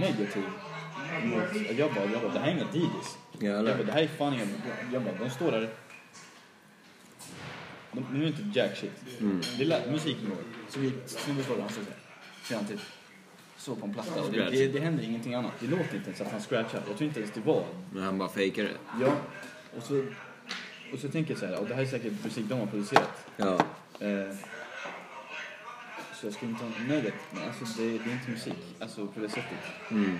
Speaker 1: negativ. mot- Jag bara, jag bara, det här är inga DJs. Jag bara,
Speaker 3: Jävlar.
Speaker 1: det här är fan inga... Jag bara, de står där... De, nu är det inte jack shit.
Speaker 3: Mm.
Speaker 1: Det lät musiken går. Så vi snubben står där, han står såhär. Så han typ så på en platta. Och det,
Speaker 3: Scratch.
Speaker 1: det, det händer ingenting annat. Det låter inte ens att han scratchar. Jag tror inte ens det var.
Speaker 3: Men han bara fejkar det.
Speaker 1: Ja. Och så, och så tänker jag såhär, och det här är säkert musik de har producerat.
Speaker 3: Ja.
Speaker 1: Eh, så jag ska inte ha nöjet. Men alltså det, det är inte musik. Alltså på det sättet.
Speaker 3: Mm.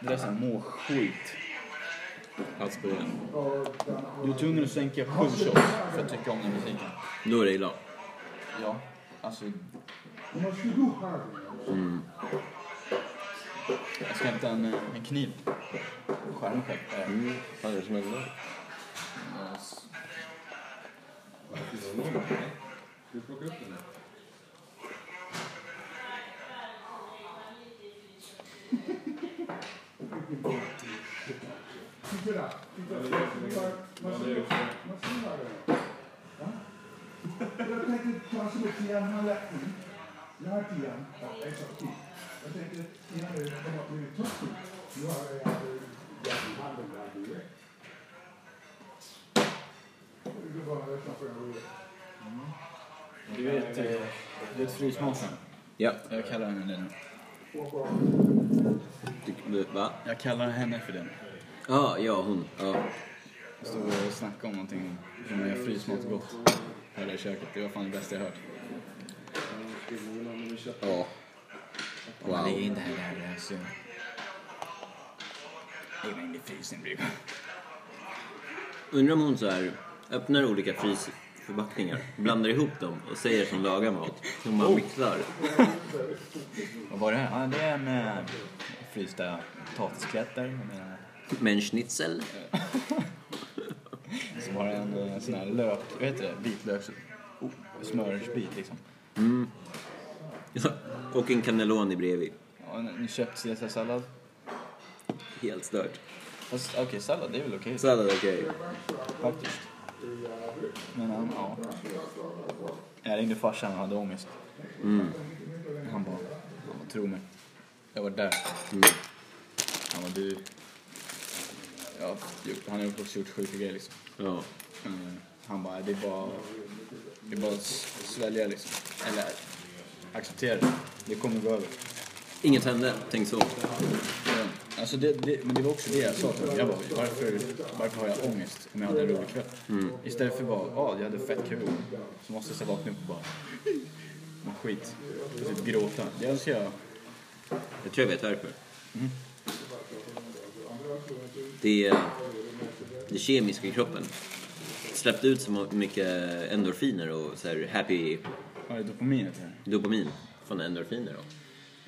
Speaker 1: Det där är såhär må skit.
Speaker 3: Havsburen.
Speaker 1: Du är tvungen att sänka sju shots för att tycka om den musiken.
Speaker 3: Då är det illa.
Speaker 1: Ja, alltså
Speaker 3: Mm.
Speaker 1: jag ska hämta en, eh, en kniv. Skär mig själv. Eh,
Speaker 3: Mm. Fan, det smäller.
Speaker 1: eh, s-
Speaker 5: Du plockar upp den där.
Speaker 2: eh, Jag tänkte ta så mycket igen, han lät in. Jag har inte igen. Ja, exakt. Jag tänkte innan det kom att bli tuffigt. Nu har jag gett handen där direkt. Det var utanför jag ville.
Speaker 1: Du vet, eh, du vet frysmasen?
Speaker 3: Ja.
Speaker 1: Jag kallar henne det nu.
Speaker 3: Du- du- Va?
Speaker 1: Jag kallar henne för den.
Speaker 3: Ja, ja hon. Ja.
Speaker 1: Jag stod och snackade om någonting. Hur man gör frysmat gott. Här i köket. Det var fan det bästa jag hört.
Speaker 3: ja. Wow.
Speaker 1: Lägg in det här, det här, det här. Så... Lägg in det i frysen, bror.
Speaker 3: Undrar om hon så här öppnar olika frysförpackningar, blandar ihop dem och säger som lagar mat. Som man mixar.
Speaker 1: Vad var det här? Ja, det är en eh, frysta potatisklätter. Med,
Speaker 3: Med en schnitzel.
Speaker 1: så var det en eh, sån här lök, vad heter det? Vitlöks... Oh, smörsbit liksom.
Speaker 3: Ja. Och en cannelloni bredvid.
Speaker 1: Ja, en, en köpt caesarsallad.
Speaker 3: Helt stört.
Speaker 1: Fast okej, sallad det är väl okej
Speaker 3: Sallad okej.
Speaker 1: faktiskt. Men um, ja. Jag ringde farsan och hade ångest.
Speaker 3: Mm.
Speaker 1: Tro mig. Jag var där. Han var dyr. Ja, gjort- han har också gjort sjuka grejer liksom.
Speaker 3: Ja.
Speaker 1: Mm. Han bara, det är bara, det är bara att s- svälja liksom. Eller acceptera det. Det kommer gå över.
Speaker 3: Inget hände, tänk så.
Speaker 1: Mm. Alltså det, det, men det var också det jag sa till honom. Jag bara, varför, varför har jag ångest om jag hade en rolig kväll? Istället för bara, ja, jag hade fett kul. Så måste jag så vakna upp och bara, må skit. Och typ gråta. Det önskar jag.
Speaker 3: Jag tror jag vet varför. Det, det kemiska i kroppen släppte ut så mycket endorfiner och så här happy
Speaker 1: Vad är dopaminet här?
Speaker 3: dopamin från endorfiner. Då.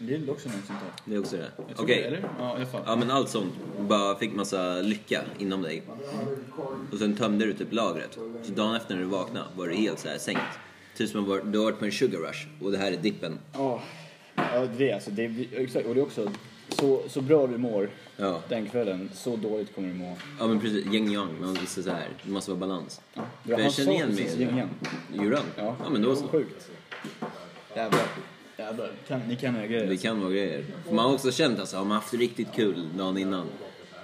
Speaker 1: Det är väl också något sånt där?
Speaker 3: Det är också det.
Speaker 1: Jag tror det,
Speaker 3: Okej.
Speaker 1: eller? Ja, i alla fall.
Speaker 3: Ja men allt sånt. Bara fick massa lycka inom dig. Och sen tömde du typ lagret. Så dagen efter när du vaknade var du helt så här sänkt. Typ som att var- du har varit på en sugar rush och det här är dippen.
Speaker 1: Ja, ja det är alltså. Det är, exakt, och det är också så, så bra du mår
Speaker 3: Ja.
Speaker 1: den kvällen, så dåligt kommer du må.
Speaker 3: Ja men precis, yin yang. Man måste, så här, det måste vara balans.
Speaker 1: Det var
Speaker 3: Jag
Speaker 1: han
Speaker 3: känner
Speaker 1: sa
Speaker 3: igen mig
Speaker 1: precis,
Speaker 3: i det.
Speaker 1: Yin Yang.
Speaker 3: Gjorde han?
Speaker 1: Ja,
Speaker 3: ja men då så.
Speaker 1: Sjukt. Jävlar. Jävlar. Kan, ni kan era grejer.
Speaker 3: Det kan vara grejer. För man har också känt alltså, har man haft riktigt kul dagen innan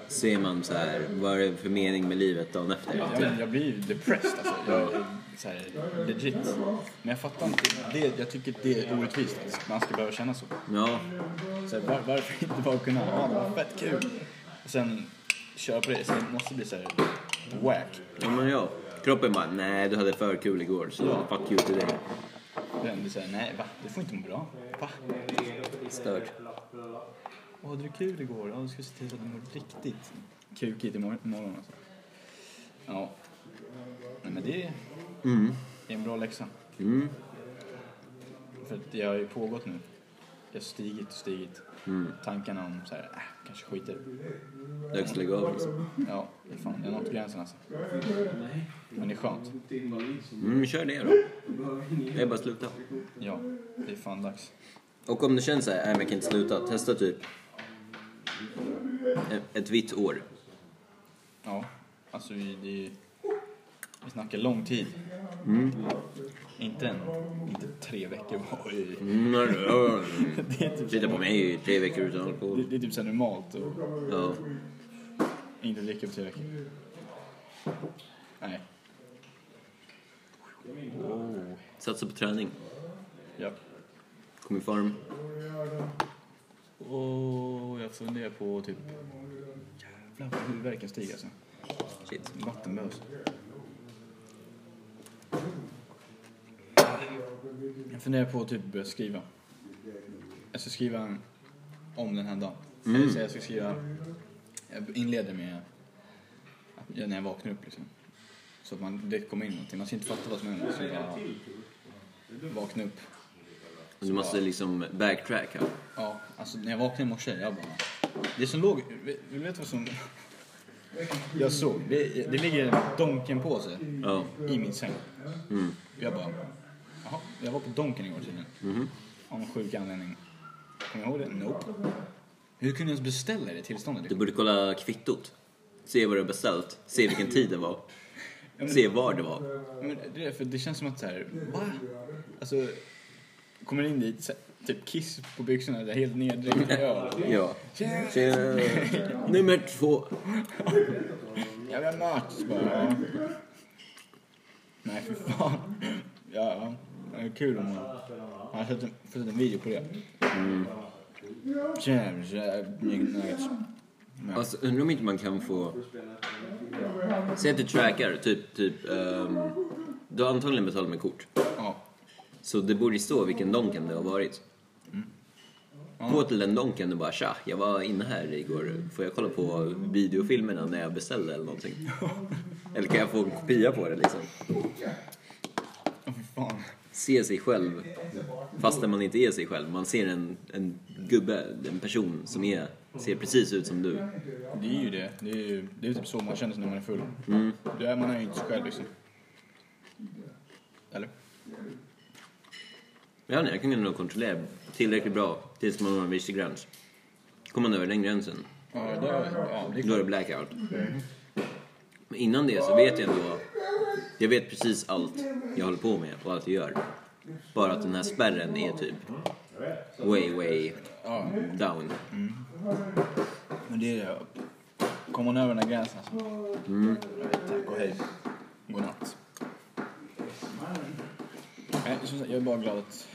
Speaker 3: så är man så här, vad är det för mening med livet dagen efter?
Speaker 1: Ja, men jag blir ju depressed alltså. Jag, så här, legit. Men jag fattar inte. Det, jag tycker det är orättvist alltså, att man ska behöva känna så.
Speaker 3: Ja,
Speaker 1: så här, var, varför inte bara kunna ha det var fett kul? Och sen köra på det. Sen måste det bli så här whack.
Speaker 3: ja men ja. Kroppen bara, nej du hade för kul igår så fuck you till dig.
Speaker 1: Den blir så här, nej va? Du får inte må bra. Va?
Speaker 3: Stört.
Speaker 1: Vad hade du kul igår? Ja, du ska se till så att du mår riktigt kukigt imorgon. imorgon alltså. Ja. Nej, men det är
Speaker 3: Mm.
Speaker 1: en bra läxa.
Speaker 3: Mm.
Speaker 1: För att det har ju pågått nu. Jag har stigit och stigit.
Speaker 3: Mm.
Speaker 1: Tankarna om så här, äh, kanske skiter.
Speaker 3: Dags att lägga av liksom.
Speaker 1: Ja, det är fan, jag har nått gränsen alltså. Men det är skönt.
Speaker 3: Mm, kör det då. Det är bara att sluta.
Speaker 1: Ja, det är fan dags.
Speaker 3: Och om du känner så här, nej men jag kan inte sluta, testa typ ett- ett vitt år.
Speaker 1: Ja, alltså vi, det är ju... Vi snackar lång tid.
Speaker 3: Mm.
Speaker 1: Inte en, inte tre veckor var i...
Speaker 3: Mm, ja, ja, ja.
Speaker 1: Det är typ,
Speaker 3: Titta på mig i tre veckor utan
Speaker 1: det,
Speaker 3: alkohol.
Speaker 1: det är typ så här normalt och
Speaker 3: Ja.
Speaker 1: inte dricka på tre veckor. Nej.
Speaker 3: Satsa på träning.
Speaker 1: Ja.
Speaker 3: Kom i form.
Speaker 1: Och jag funderar på typ... Jävlar vad huvudvärken stiger alltså.
Speaker 3: Shit.
Speaker 1: Vattenbös. Jag funderar på att typ börja skriva. Jag ska skriva om den här dagen. Eller så jag ska skriva... Jag inleder med att jag- när jag vaknar upp liksom. Så att man, det kommer in någonting. Man ska inte fatta vad som händer. Så bara vakna upp.
Speaker 3: Du måste liksom backtracka.
Speaker 1: Ja, alltså när jag vaknade i morse, jag bara... Det som låg... Vill du veta vad som... Jag såg, det, det ligger en Donken-påse
Speaker 3: Ja. Mm.
Speaker 1: i min säng. Jag bara... Jaha, jag var på Donken igår tydligen.
Speaker 3: Mm-hmm.
Speaker 1: Av någon sjuk anledning. Kommer jag ihåg det? Nope. Hur kunde jag ens beställa det tillståndet?
Speaker 3: Du borde kolla kvittot. Se vad du har beställt. Se vilken tid det var. Se var det var.
Speaker 1: Men det, är för det känns som att så här, va? Alltså, kommer in dit, så här, typ kiss på byxorna, där helt neddränkt i öl.
Speaker 3: Ja. Tjena. eh, Nummer två.
Speaker 1: Jag vill ha mat! Så Bara, ja. Nej, för fan. Ja, ja. det är kul om man... Han har sett en, fått en video på det. Jävligt jävligt nuggets.
Speaker 3: Alltså, undrar om inte man kan få... Säg att du trackar, typ... typ ehm, du har antagligen betalat med kort.
Speaker 1: Ja.
Speaker 3: Så det borde ju stå vilken donken det har varit. Gå till den donken och bara tja, jag var inne här igår. Får jag kolla på videofilmerna när jag beställde eller någonting? eller kan jag få en kopia på det liksom?
Speaker 1: Åh, fy fan.
Speaker 3: Se sig själv fastän man inte är sig själv. Man ser en, en gubbe, en person som är, ser precis ut som du.
Speaker 1: Det är ju det. Det är ju det är typ så man känner sig när man är full. Det är man är ju inte sig själv liksom. Eller?
Speaker 3: Ja, nej, jag kan nog kontrollera tillräckligt bra tills man når en viss gräns. Kommer man över den gränsen,
Speaker 1: Ja, det, ja, det är
Speaker 3: då är det blackout. Men innan det så vet jag ändå... Jag vet precis allt jag håller på med och allt jag gör. Bara att den här spärren är typ Way, way
Speaker 1: Ja,
Speaker 3: down.
Speaker 1: men det är det. Kommer man över den här gränsen så
Speaker 3: Mm.
Speaker 1: tack och hej. Godnatt. Nej, som sagt, Jag är bara glad att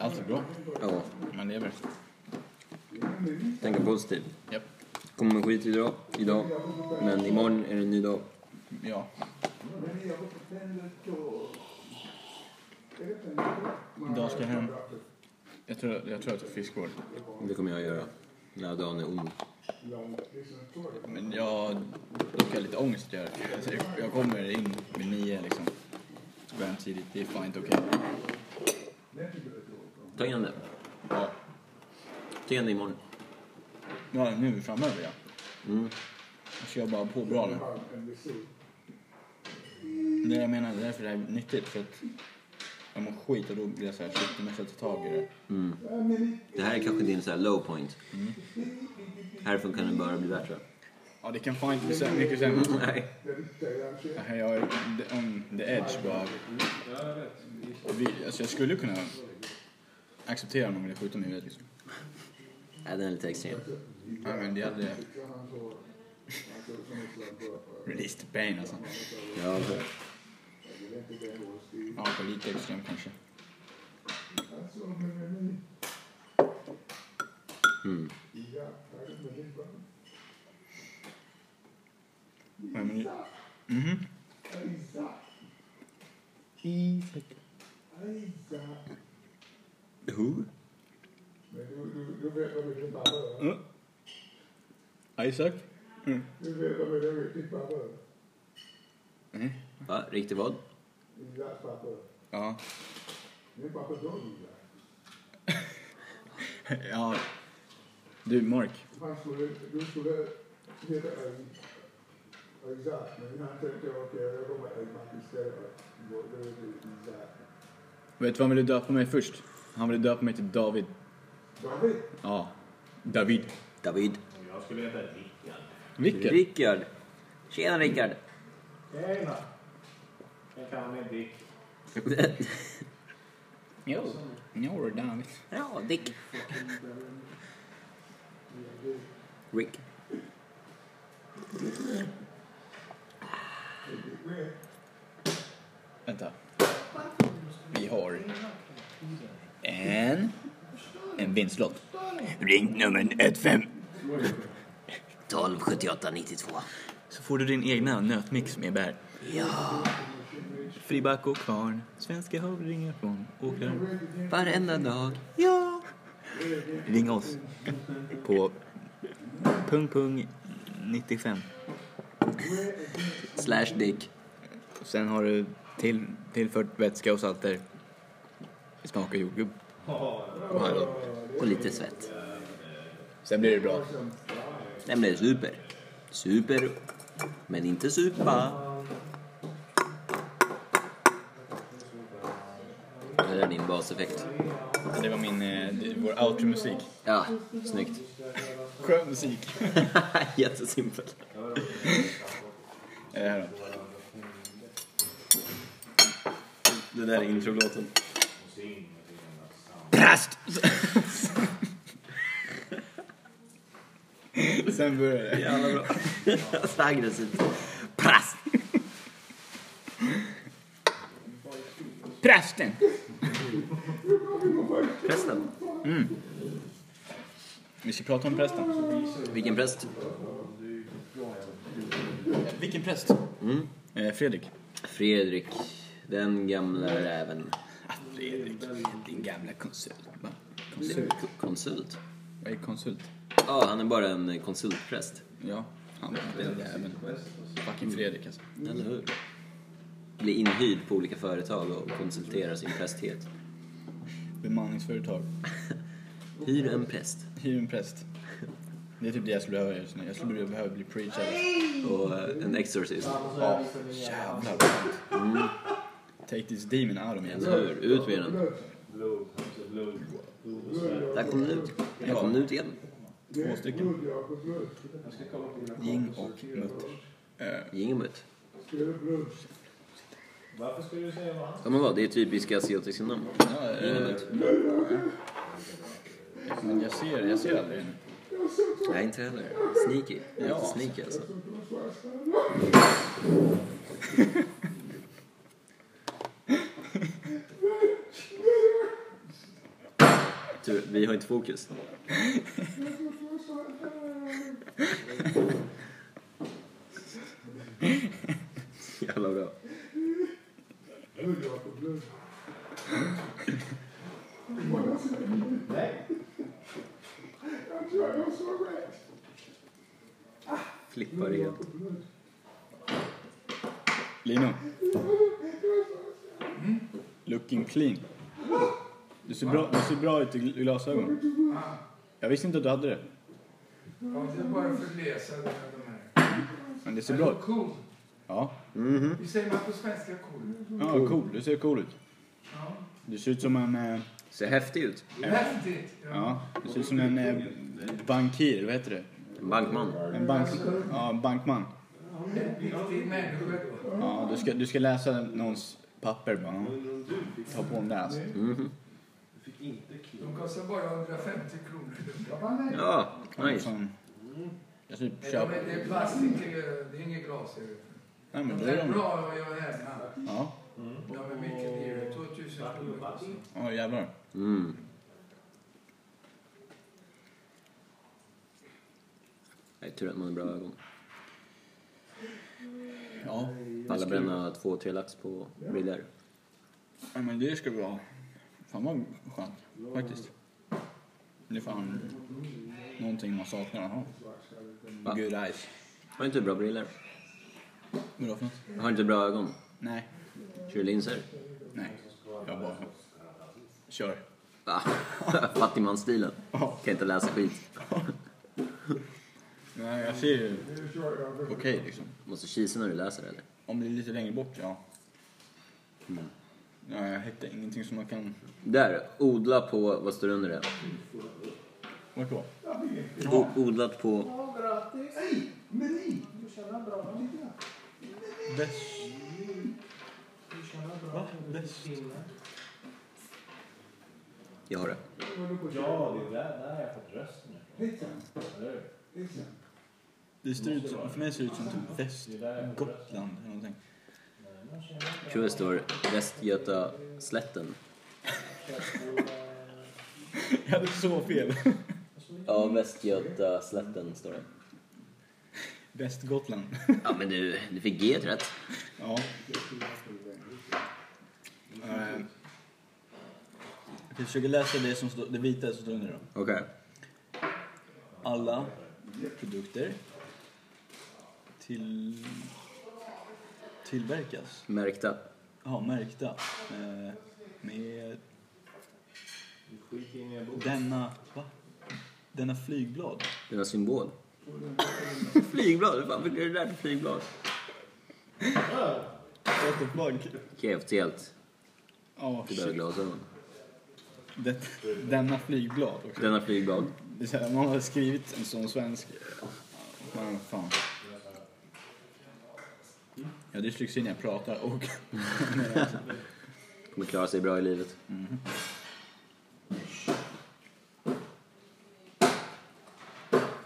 Speaker 1: allt är bra.
Speaker 3: Ja,
Speaker 1: Man lever.
Speaker 3: tänka positivt.
Speaker 1: Japp.
Speaker 3: Kommer med skit idag, idag, men imorgon är det en ny dag.
Speaker 1: Ja.
Speaker 2: eh,
Speaker 1: Idag ska jag hem. Jag tror, jag tror att det är friskvård.
Speaker 3: Det kommer jag att göra. Den här dagen är ond.
Speaker 1: Men jag dock har jag lite ångest att göra det. Alltså, jag- Jag kommer in vid nio liksom. Så går jag hem tidigt. Det är fan inte okej.
Speaker 3: Ta igen det.
Speaker 1: Ja.
Speaker 3: Ta igen det imorgon.
Speaker 1: Ja, nu framöver ja.
Speaker 3: Mm.
Speaker 1: Jag kör bara på bra nu. Det jag menar, det är därför det här är nyttigt. För att jag mår skit och då blir jag så här, shit nu måste jag ta tag i det.
Speaker 3: Mm. Det här är kanske din så här low point. Härifrån kan det bara bli bättre.
Speaker 1: Ja, det kan fan inte bli så här mycket sämre.
Speaker 3: Nej.
Speaker 1: Nej, Jag är the, on the edge bara. Vi, alltså jag skulle kunna acceptera om någon ville skjuta mig i huvudet liksom.
Speaker 3: Nej, den är lite extrem.
Speaker 1: Nej men det hade... Release the pain alltså.
Speaker 3: Ja,
Speaker 1: Ja, på lite extrem kanske.
Speaker 3: mm.
Speaker 1: Nej, men... Mhm. Isak.
Speaker 3: Who?
Speaker 1: Mm. Isak? Mm. Nej.
Speaker 3: Va? Riktigt vad?
Speaker 1: Ja. Ja. Du, Mark.
Speaker 2: Han skulle, du skulle leta älg. Isaac, men han tänkte okej, jag kommer älgback istället. Då är det Isaac.
Speaker 1: Vet du vad han ville döpa mig först? Han ville döpa mig till David.
Speaker 2: David,
Speaker 1: Ja. David.
Speaker 3: David.
Speaker 6: Jag skulle heta Rickard.
Speaker 1: Vilken?
Speaker 3: Rickard. Mm. Tjena Rickard.
Speaker 6: Tjena! Jag kan min Dick.
Speaker 1: Jo. Jo, David.
Speaker 3: ja, Dick. Rick.
Speaker 1: Vänta. Vi har en, en vinstlott. Ring nummer 15.
Speaker 3: 12, 78, 92.
Speaker 1: Så får du din egna nötmix med bär.
Speaker 3: Ja.
Speaker 1: Friback och kvarn, svenska havringar från åkrar.
Speaker 3: Varenda dag. Ja.
Speaker 1: Ring oss på pung pung 95.
Speaker 3: Slash Dick.
Speaker 1: Sen har du till, tillfört vätska och salter. Det smakar jordgubb.
Speaker 3: Och lite svett.
Speaker 1: Sen blir det bra.
Speaker 3: Den blev super. Super. Men inte supa. Det där är din baseffekt.
Speaker 1: Det var min, eh, det- vår outro-musik.
Speaker 3: Ja, snyggt.
Speaker 1: Skön musik.
Speaker 3: Jättesimpel.
Speaker 1: Är det här då?
Speaker 3: Det där är introlåten.
Speaker 1: Präst! Sen börjar det.
Speaker 3: Jävla bra. Så aggressivt. Prass!
Speaker 1: Prästen!
Speaker 3: Prästen.
Speaker 1: Vi ska prata om prästen.
Speaker 3: Vilken präst?
Speaker 1: Vilken präst? Eh, Fredrik.
Speaker 3: Fredrik. Den gamla räven.
Speaker 1: Ah, Fredrik, din gamla konsult. Va?
Speaker 3: K- Konsult?
Speaker 1: Vad är konsult?
Speaker 3: Ja, han är bara en konsultpräst.
Speaker 1: Ja, han var den jäveln. Fucking Fredrik alltså.
Speaker 3: Eller hur? Blir inhyrd på olika företag och konsulterar sin prästhet.
Speaker 1: Bemanningsföretag.
Speaker 3: Hyr en präst.
Speaker 1: Hyr en präst. Det är typ det jag skulle behöva just nu. Jag skulle behöva bli preacher.
Speaker 3: Och eh, en exorcist.
Speaker 1: Ja, Mm. jävlar vad skönt. Take this demon out of me
Speaker 3: Eller
Speaker 1: alltså.
Speaker 3: hur? Ut med den.
Speaker 6: Blod, alltså blod.
Speaker 3: Där kom den ut. Där kom den ut igen.
Speaker 1: Två stycken.
Speaker 2: Jakobs bröd.
Speaker 1: Ying och mutt. Eh,
Speaker 3: Gingemut.
Speaker 2: Spelar bröd.
Speaker 6: Varför skulle du säga vad han
Speaker 3: Ja men vad, det är typiska asiatiska namn.
Speaker 1: ja, eh, Men jag ser, jag ser aldrig henne.
Speaker 3: Nej, inte heller. Sneaky.
Speaker 1: Ja.
Speaker 3: Ja. Sneaky alltså. Du, vi har inte fokus. Jävla bra. Flippar igen.
Speaker 1: Lino. Looking clean. Du ser bra, du ser bra ut i gl- glasögon. Jag visste inte att du hade det.
Speaker 7: Jag bara förläsare med de här.
Speaker 1: Men det ser bra ut.
Speaker 7: Cool.
Speaker 1: Ja.
Speaker 2: Mhm.
Speaker 7: Hur säger man på svenska cool?
Speaker 1: Ja, cool. Du ser cool ut.
Speaker 7: Ja.
Speaker 1: Du ser ut som en... eh,
Speaker 3: Ser häftig ut.
Speaker 7: Häftigt. Ja.
Speaker 1: Ja, du ser ut som en eh, bankir. Vad heter det?
Speaker 3: En bankman.
Speaker 1: En bank, ja, en bankman.
Speaker 7: En viktig människa då.
Speaker 1: Ja, du ska, du ska läsa någons papper bara. Ta på dem där alltså.
Speaker 3: Mhm.
Speaker 7: De kostar bara 150 kronor.
Speaker 3: Ja, nice.
Speaker 1: Som, jag typ
Speaker 7: Men de
Speaker 1: köper...
Speaker 7: är, det är plastik, det är inget glas. i det.
Speaker 1: Nej men då
Speaker 7: Det
Speaker 1: är
Speaker 7: är
Speaker 1: de...
Speaker 7: bra att göra hemma.
Speaker 1: Ja,
Speaker 7: De är mycket dyrare. 2000 kronor kostar de.
Speaker 1: oh, jävlar.
Speaker 3: Mm. Nej, tur att man har bra ögon.
Speaker 1: Ja.
Speaker 3: Alla bränna två, tre lax på billigare.
Speaker 1: Nej men det ska vi ha. Fan vad skönt. Faktiskt. Det är fan någonting man saknar att ha.
Speaker 3: Va?
Speaker 1: Good eyes.
Speaker 3: Har inte du bra briller?
Speaker 1: Vadå för något?
Speaker 3: Har inte du bra ögon?
Speaker 1: Nej.
Speaker 3: Kör du linser?
Speaker 1: Nej. Jag bara... Kör.
Speaker 3: Va? Fattigmansstilen.
Speaker 1: Ja.
Speaker 3: Kan inte läsa skit.
Speaker 1: Nej jag ser ju okej liksom.
Speaker 3: Måste kisa när du läser eller?
Speaker 1: Om det är lite längre bort ja. Nej jag hittar ingenting som man kan...
Speaker 3: Där, odla på, vad står det under det?
Speaker 1: Vart då?
Speaker 3: O- odlat på,
Speaker 6: Ja, grattis! Du tjänar bra.
Speaker 1: Väst.
Speaker 6: Du tjänar bra.
Speaker 3: jag har det.
Speaker 4: Ja, det är där, där har jag fått rösten ifrån. Eller hur?
Speaker 1: Det ser ut som, för mig ser det ut som typ väst.
Speaker 4: Det är där jag har fått rösten.
Speaker 1: Gotland eller någonting.
Speaker 3: Jag tror det står Västgöta slätten.
Speaker 1: Jag hade så fel.
Speaker 3: Ja, Västgöta slätten står det.
Speaker 1: Västgotland.
Speaker 3: Ja men du, du fick G rätt.
Speaker 1: Ja. Eh, Jag försöker läsa det, som står, det vita som står under då.
Speaker 3: Okej.
Speaker 1: Alla produkter till, tillverkas,
Speaker 3: Märkta.
Speaker 1: ja märkta, eh, med denna, va? Denna flygblad.
Speaker 3: Dina symbol. flygblad, hur fan fick du det där till flygblad?
Speaker 1: What the fuck?
Speaker 3: Okej, okay, helt.
Speaker 1: Ja,
Speaker 3: Du behöver
Speaker 1: shit.
Speaker 3: glasögon.
Speaker 1: Det, denna flygblad också.
Speaker 3: Denna flygblad.
Speaker 1: Det är så här, man har skrivit en sån svensk... Men fan. Jag har dyslexi när jag pratar och...
Speaker 3: Kommer klara sig bra i livet.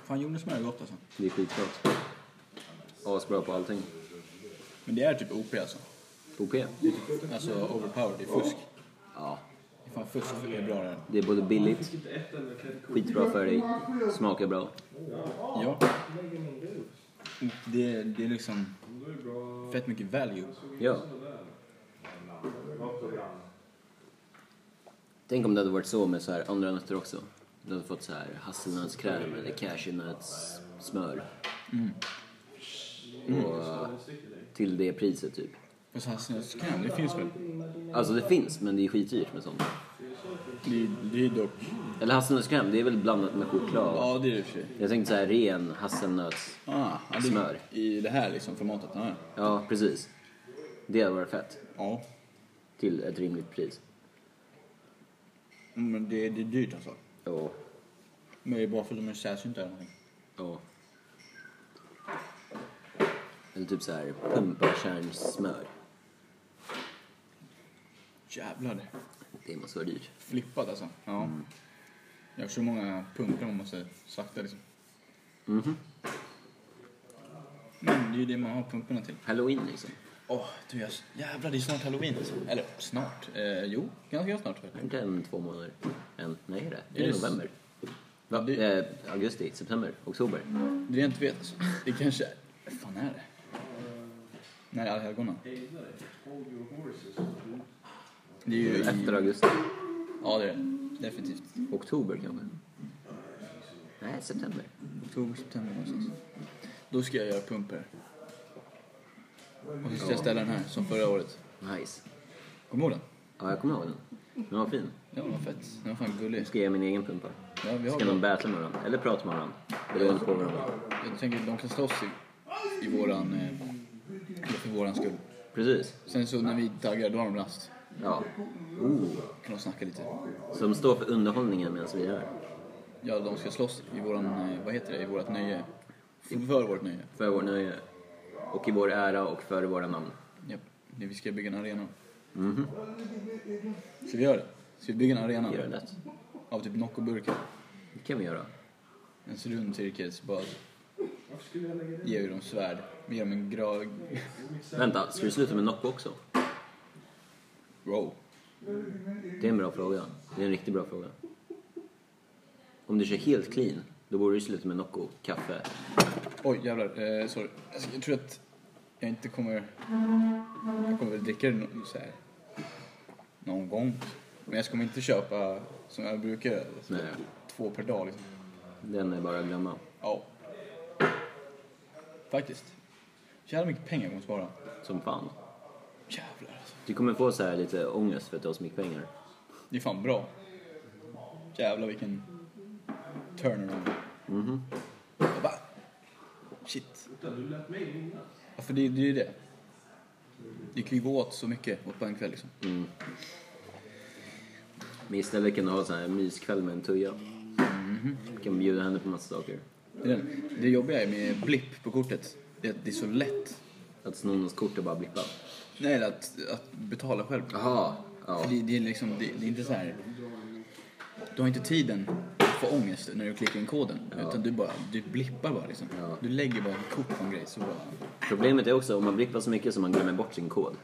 Speaker 1: Fan, jordnötssmör är gott alltså.
Speaker 3: Det är skitgott. Asbra på allting.
Speaker 1: Men det är typ OP alltså.
Speaker 3: OP.
Speaker 1: Alltså overpowered, det är fusk.
Speaker 3: Ja.
Speaker 1: Det är fan fusk för det är bra det
Speaker 3: Det är både billigt, skitbra för dig, smakar bra.
Speaker 1: Ja. Och Det, det är liksom fett mycket value.
Speaker 3: Ja. Tänk om det hade varit så med så här andra nötter också. Du hade fått så här hasselnötskräm eller cashewnötssmör. Och eh, till det priset typ.
Speaker 1: Och så här snöskräm, det finns väl?
Speaker 3: Alltså det finns men det är skitdyrt med sånt.
Speaker 1: Det, är- det är dock...
Speaker 3: Eller hasselnötskräm, det är väl blandat med choklad.
Speaker 1: Ja, det är det i och för sig.
Speaker 3: Jag tänkte så här ren hasselnöts...
Speaker 1: Ah, ja, det
Speaker 3: Smör.
Speaker 1: är I det här liksom formatet. Ja.
Speaker 3: Ja, precis. Det hade varit fett.
Speaker 1: ja.
Speaker 3: Till ett rimligt pris.
Speaker 1: Men det, det är dyrt alltså.
Speaker 3: Ja.
Speaker 1: Men det är bara för att de är sällsynta eller någonting.
Speaker 3: Ja. Eller typ så här pumpakärnssmör.
Speaker 1: Jävlar.
Speaker 3: Det måste vara dyrt. Mm.
Speaker 1: Flippat alltså. Ja. Jag har så många punkter man måste sakta liksom.
Speaker 3: Mhm.
Speaker 1: Men det är ju det man har pumporna till.
Speaker 3: Halloween liksom.
Speaker 1: Åh, du jag, jävlar det är snart halloween alltså. Eller snart. Eh, jo, ganska snart. väl.
Speaker 3: Är inte en två månader? En, nej det är
Speaker 1: Är
Speaker 3: det. Är
Speaker 1: det
Speaker 3: det
Speaker 1: s-
Speaker 3: november? Va?
Speaker 1: Det-
Speaker 3: Eh, augusti, september, oktober?
Speaker 1: Det jag inte vet alltså. Det kanske är... Vad fan är det? När är allhelgona?
Speaker 5: Hold your horses.
Speaker 1: Det är ju
Speaker 3: Efter augusti?
Speaker 1: Ja, det är det. Definitivt.
Speaker 3: Oktober kanske? Nej, september.
Speaker 1: Oktober, september någonstans. Då ska jag göra pumper. Och så ska jag ställa den här, som förra året.
Speaker 3: Nice.
Speaker 1: Kommer du ihåg den?
Speaker 3: Ja, jag kommer ihåg den. Den var fin.
Speaker 1: Ja, den var fett. Den var fan gullig.
Speaker 3: Jag ska ge min egen pumpa.
Speaker 1: Ja, vi har
Speaker 3: Ska de
Speaker 1: den.
Speaker 3: battla med varandra? Eller prata med varandra? Beroende på varandra.
Speaker 1: Jag tänker att de kan slåss i, i våran... Eh, för våran skull.
Speaker 3: Precis.
Speaker 1: Sen så när vi taggar, då har de rast.
Speaker 3: Ja. Oh.
Speaker 1: Kan de snacka lite.
Speaker 3: Så de står för underhållningen medan vi gör.
Speaker 1: Ja, de ska slåss i våran... Eh, vad heter det? I vårat nöje. För, för vårt nöje.
Speaker 3: För vår nöje. Och i vår ära och för våra namn.
Speaker 1: Japp. Det- Vi ska bygga en arena.
Speaker 3: Mhm.
Speaker 1: Ska vi göra det? Ska vi bygga en arena?
Speaker 3: Det är lätt.
Speaker 1: Av typ Noccoburkar.
Speaker 3: Det kan vi göra.
Speaker 1: En så rund cirkel så bara
Speaker 5: Varför skulle jag lägga det?
Speaker 1: ger vi dem svärd. Vi ger dem en grav...
Speaker 3: Vänta, ska du sluta med Nocco också?
Speaker 1: Wow.
Speaker 3: Det är en bra fråga. Det är en riktigt bra fråga. Om du kör helt clean, då borde du sluta med Nocco, kaffe.
Speaker 1: Oj jävlar, eh, sorry. Alltså, jag tror att jag inte kommer... Jag kommer väl dricka det nå- så här, någon gång. Men jag kommer inte köpa som jag brukar göra. alltså,
Speaker 3: Nej,
Speaker 1: Två per dag liksom.
Speaker 3: den är bara att glömma.
Speaker 1: Ja. Faktiskt. Jävlar mycket pengar jag kommer spara.
Speaker 3: Som fan.
Speaker 1: Jävlar alltså.
Speaker 3: Du kommer få så här lite ångest för att du har så mycket pengar.
Speaker 1: Det är fan bra. Jävlar vilken turnaround.
Speaker 3: Mhm.
Speaker 1: Jag bara... Shit. Ja, för det, det är ju det. Det kan ju gå åt så mycket åt på en kväll liksom.
Speaker 3: Mm. Men istället kan du ha så här myskväll med en tuja. Du kan bjuda henne på massa saker.
Speaker 1: Det, är den. det jobbiga är med blipp på kortet, det är att det är så lätt.
Speaker 3: Att sno någons kort och bara blippa.
Speaker 1: Nej, eller att, att betala själv.
Speaker 3: Jaha.
Speaker 1: För
Speaker 3: Ja.
Speaker 1: det, det, är liksom, det, det är inte så här... Du har inte tiden att få ångest när du klickar in koden.
Speaker 3: Ja.
Speaker 1: Utan du bara, du blippar bara liksom.
Speaker 3: Ja.
Speaker 1: Du lägger bara ett kort på en grej så bara...
Speaker 3: Problemet är också om man blippar så mycket så man glömmer bort sin kod.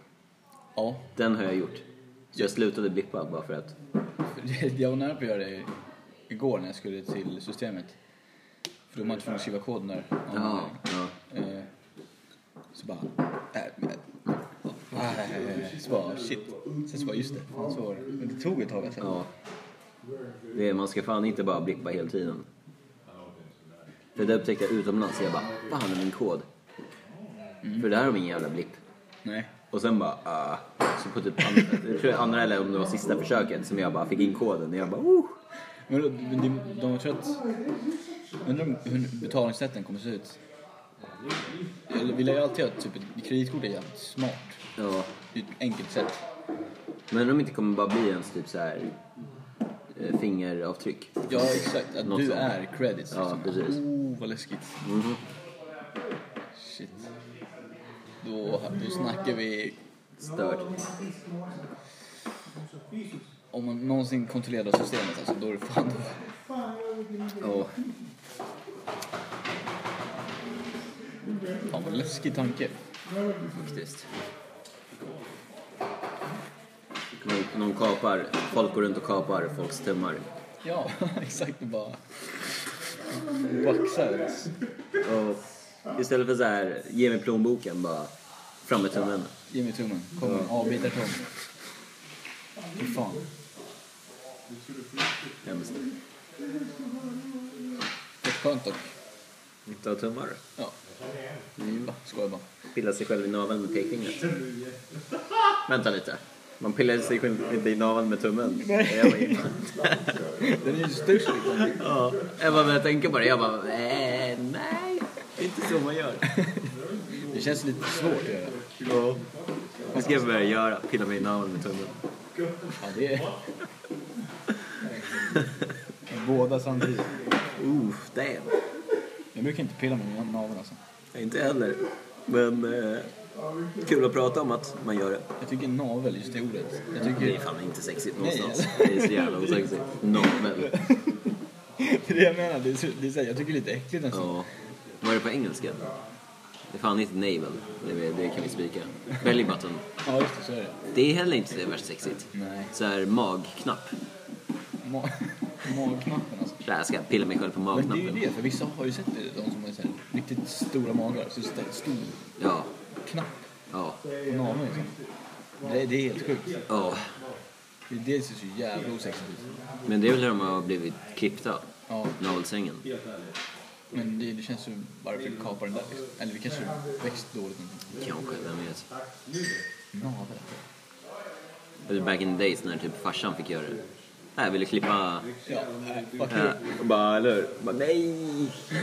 Speaker 1: Ja,
Speaker 3: Den har jag gjort. Så jag slutade blippa bara för att...
Speaker 1: För det- jag var nära på att göra det igår när jag skulle till systemet. För då var man tvungen att skriva koden där. av någon
Speaker 3: Ja.
Speaker 1: anledning.
Speaker 3: ja.
Speaker 1: Eh, Så bara... Äh, äh, äh, så bara, shit. Sen så bara, just det. Fan, så var det. Men det tog ett tag alltså.
Speaker 3: Ja. Det är, man ska fan inte bara blippa hela tiden. För det upptäckte jag utomlands. Jag bara, fan är min kod? För där har vi ingen jävla blipp.
Speaker 1: Nej.
Speaker 3: Och sen bara, ah. Så på typ andra, jag tror andra eller om det var sista försöket som jag bara fick in koden. Och jag bara, oh.
Speaker 1: Men då- men de, de var trött. Undrar om hur betalningssätten kommer se ut. Eller vill jag ju alltid ha typ ett kreditkort är jävligt smart.
Speaker 3: Ja.
Speaker 1: Det är ett enkelt sätt.
Speaker 3: Men om det inte kommer bara bli ens typ så här eh, fingeravtryck.
Speaker 1: Ja exakt, att
Speaker 3: Något
Speaker 1: du
Speaker 3: sånt.
Speaker 1: är credits
Speaker 3: Ja, precis.
Speaker 1: Oh vad läskigt.
Speaker 3: Mhm.
Speaker 1: Shit. Då, då snackar vi
Speaker 3: Stört.
Speaker 1: om man någonsin kontrollerar systemet alltså då är det fan
Speaker 3: Ja.
Speaker 1: Fan vad läskig tanke.
Speaker 3: Faktiskt. Någon, någon kapar, folk går runt och kapar folks tummar.
Speaker 1: Ja, exakt. det Bara baxar.
Speaker 3: Och istället för så här, ge mig plånboken, bara fram med tummen.
Speaker 1: Ge mig tummen. Kom, avbitar tum. Fy fan.
Speaker 3: Hemskt.
Speaker 1: Det är skönt dock.
Speaker 3: Inte ha tummar.
Speaker 1: Ja. Mm. Va, Skojar bara.
Speaker 3: Pilla sig själv i naveln med pekfingret. Vänta lite. Man pillar sig själv inte i naveln med tummen. Jag bara,
Speaker 1: Den är ju störst liksom.
Speaker 3: ja. jag bara började tänka på det. Jag bara, eh, nej. Det är inte så man gör.
Speaker 1: Det känns lite svårt att göra.
Speaker 3: Ja. Vad ska jag börja göra? Pilla mig i naveln med tummen.
Speaker 1: Ja, det är... Båda samtidigt.
Speaker 3: Oof, damn.
Speaker 1: Jag brukar inte pilla med mina naveln alltså.
Speaker 3: Nej, Inte jag heller. Men eh, kul att prata om att man gör det.
Speaker 1: Jag tycker navel, just det ordet. Jag
Speaker 3: Det är
Speaker 1: tycker...
Speaker 3: fan inte sexigt
Speaker 1: Nej.
Speaker 3: någonstans. Det är så jävla osexigt. Navel.
Speaker 1: Det är det jag menar. Det är, så- det är så här, jag tycker det är lite äckligt nästan.
Speaker 3: Ja. Vad är det på engelska? Det är fan inte navel. Det, det kan vi spika. Belly button.
Speaker 1: Ja, just det. Så är det.
Speaker 3: Det är heller inte så värst sexigt.
Speaker 1: Nej.
Speaker 3: Så här magknapp.
Speaker 1: Ma- Magknappen alltså.
Speaker 3: Så här, jag ska pilla mig själv på
Speaker 1: Men det är ju
Speaker 3: magknappen.
Speaker 1: det, för vissa har ju sett det, de som har så här, riktigt stora magar. Så st- stor
Speaker 3: Ja.
Speaker 1: knapp
Speaker 3: Ja.
Speaker 1: på naveln liksom. Det, det är helt sjukt.
Speaker 3: Ja.
Speaker 1: Det, det ser så jävla osexigt ut.
Speaker 3: Men det är väl hur de har blivit klippta.
Speaker 1: Ja,
Speaker 3: Navelsängen.
Speaker 1: men det, det känns ju... Varför kapar den där liksom? Eller vi kanske växt dåligt någonting.
Speaker 3: Kanske, vem vet.
Speaker 1: Navel.
Speaker 3: Eller back in the days när typ farsan fick göra det. Nej, vill du klippa...
Speaker 1: Ja, nej, fuck
Speaker 3: Ja.
Speaker 1: it.
Speaker 3: Och bara, eller hur? Bara, Nej,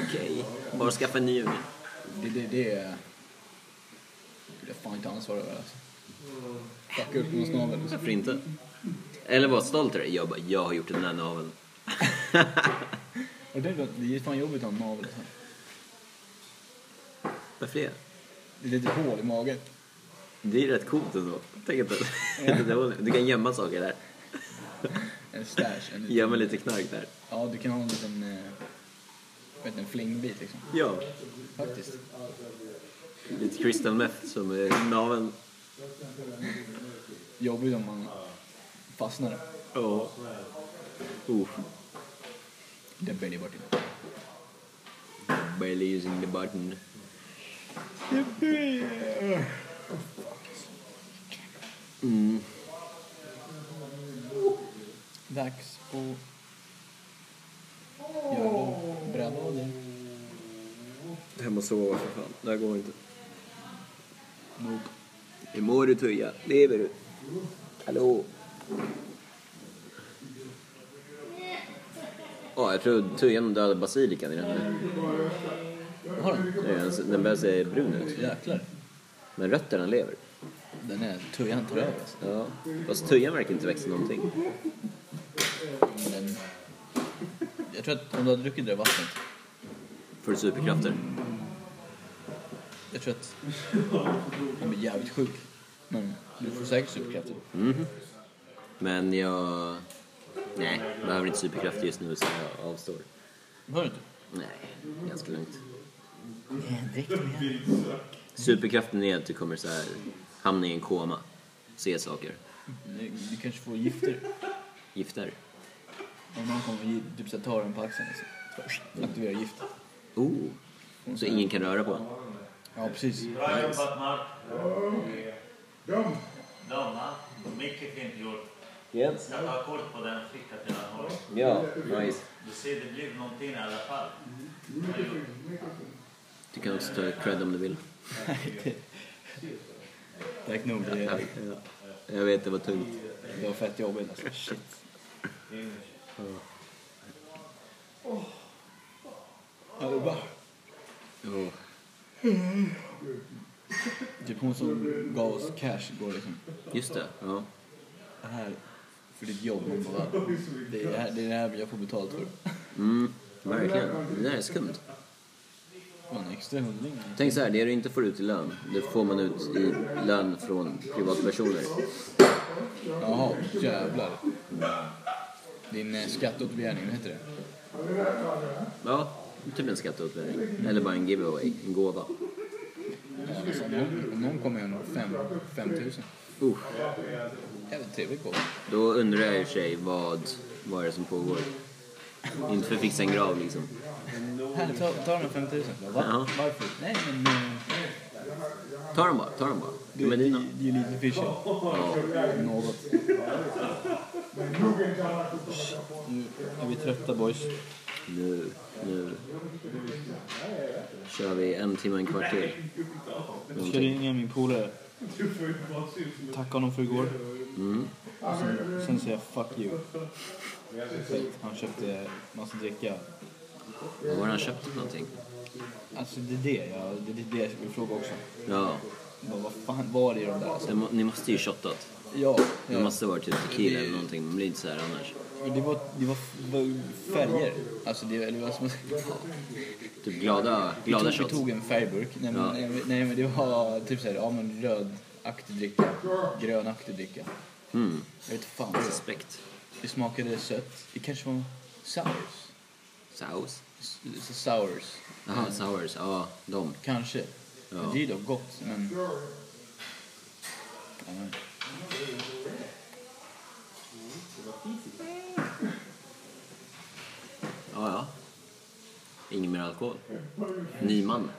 Speaker 3: okej. Bara skaffa en ny unge.
Speaker 1: Det, det, det är... Det är fan inte ansvar över alltså. Fucka upp någons navel. liksom.
Speaker 3: Varför inte? Eller var stolt över det. Jag bara, jag har gjort den här naveln.
Speaker 1: Och det, är- det är fan jobbigt att ha en navel. Alltså.
Speaker 3: Varför det?
Speaker 1: Det är lite hål i magen.
Speaker 3: Det är rätt coolt ändå. Tänk att det där var- du kan gömma saker där.
Speaker 1: En stash. En liten,
Speaker 3: Gömma lite knark där.
Speaker 1: Ja, du kan ha en liten... Eh, vet du, en flingbit liksom.
Speaker 3: Ja,
Speaker 1: Faktiskt.
Speaker 3: lite crystal meth som är naveln.
Speaker 1: Jobbigt om man fastnar.
Speaker 3: Ja. Oh.
Speaker 1: Det blir det bort in.
Speaker 3: Barely using the button. Mm.
Speaker 1: Dags på... Göra brädlådor.
Speaker 3: Hem och sova för fan. Det här går inte.
Speaker 1: Nope.
Speaker 3: Hur mår du Tuija? Lever du? Hallå? Ja, jag tror Tujan dödade basilikan i den här.
Speaker 1: Har den?
Speaker 3: Det är en- Den börjar se brun ut.
Speaker 1: Jäklar.
Speaker 3: Men rötterna lever.
Speaker 1: Den är... Tujan tar över alltså.
Speaker 3: Ja. Fast Tujan verkar inte växa någonting.
Speaker 1: Men... Jag tror att om du hade druckit det där vattnet.
Speaker 3: Får du superkrafter?
Speaker 1: Jag tror att han blir jävligt sjuk. Men du får säkert superkrafter.
Speaker 3: Men jag... Nej, jag behöver inte superkrafter just nu så jag avstår.
Speaker 1: Hör du inte?
Speaker 3: Nej, ganska lugnt. Superkraften är att du kommer så här hamna i en koma. Se saker.
Speaker 1: Du, du kanske får gifter.
Speaker 3: Gifter.
Speaker 1: Om någon kommer och gi- typ så här, tar den på axeln. Så aktiverar gift.
Speaker 3: Oh! Så ingen kan röra på en.
Speaker 1: Ja, precis.
Speaker 3: Nice.
Speaker 6: Mark.
Speaker 2: Dum.
Speaker 6: Dumma. Mycket fint gjort.
Speaker 3: Yes.
Speaker 6: Jag tar kort på den och skickar till den här.
Speaker 3: Ja, nice.
Speaker 6: Du ser, det blev någonting i alla fall.
Speaker 3: Du kan också ta cred om du vill.
Speaker 1: Tack nog. Det,
Speaker 3: Jag vet, det var tungt.
Speaker 1: det var fett jobbigt alltså. Shit. Ja, det var-
Speaker 3: Ja.
Speaker 1: Typ hon som gav oss cash går liksom.
Speaker 3: Just det. Ja.
Speaker 1: Det här för ditt jobb. Man bara, det, är det, här, det är det här jag får betalt för.
Speaker 3: Mm, verkligen. Det där är skumt.
Speaker 1: Det var en extra hundring.
Speaker 3: Tänk så här, det du inte får ut i lön, det får man ut i lön från privatpersoner.
Speaker 1: Jaha, jävlar. Din eh, skatteåterbegärning, vad heter det?
Speaker 3: Ja, typ en skatteåterbäring. Eller bara en giveaway, en gåva.
Speaker 1: Ja, alltså, någon, någon kommer hem med fem, fem tusen.
Speaker 3: Uh,
Speaker 1: Jävligt trevlig gåva.
Speaker 3: då undrar jag i och för sig vad, vad är det som pågår. Inte för att fixa en grav liksom.
Speaker 1: Här, ta, ta de här fem tusen. Bara, Va?
Speaker 3: Ja.
Speaker 1: Varför? Nej, men... eh,
Speaker 3: Ta dem bara, ta dem bara.
Speaker 1: Det,
Speaker 3: De är
Speaker 1: det,
Speaker 3: dina.
Speaker 1: det är ju lite fishy. Något. Nu är vi trötta boys.
Speaker 3: Nu, nu. Kör vi en timme, en kvart till.
Speaker 1: Jag ska ringa min polare. Tacka honom för igår.
Speaker 3: Mm.
Speaker 1: Och sen, sen säger jag fuck you. För att han köpte massa dricka.
Speaker 3: Vad har han köpt för någonting?
Speaker 1: Alltså det är det jag, det, är det jag vill fråga också.
Speaker 3: Ja,
Speaker 1: Vad, vad fan var det i de där? Alltså,
Speaker 3: det må, ni måste ju shottat.
Speaker 1: ja,
Speaker 3: Det
Speaker 1: ja.
Speaker 3: måste vara typ tequila eller någonting. Man blir inte så här annars.
Speaker 1: Men Det, var, det var det var färger. Alltså det, eller vad som
Speaker 3: Typ
Speaker 1: vi,
Speaker 3: glada,
Speaker 1: tog,
Speaker 3: glada
Speaker 1: vi
Speaker 3: shots.
Speaker 1: tog en färgburk. Nej men,
Speaker 3: Ja.
Speaker 1: nej, men- nej men det var typ såhär, ja men rödaktig dricka, grönaktig dricka.
Speaker 3: Mm.
Speaker 1: Jag vet fan. vad det var.
Speaker 3: Suspekt.
Speaker 1: Det smakade sött. Det kanske var sours.
Speaker 3: Saus?
Speaker 1: S- s- Sours.
Speaker 3: Jaha, sours. Ja, de.
Speaker 1: Kanske.
Speaker 3: Ja.
Speaker 1: Det är dock gott, men...
Speaker 3: Ja, ja. Ingen mer alkohol. Ny man.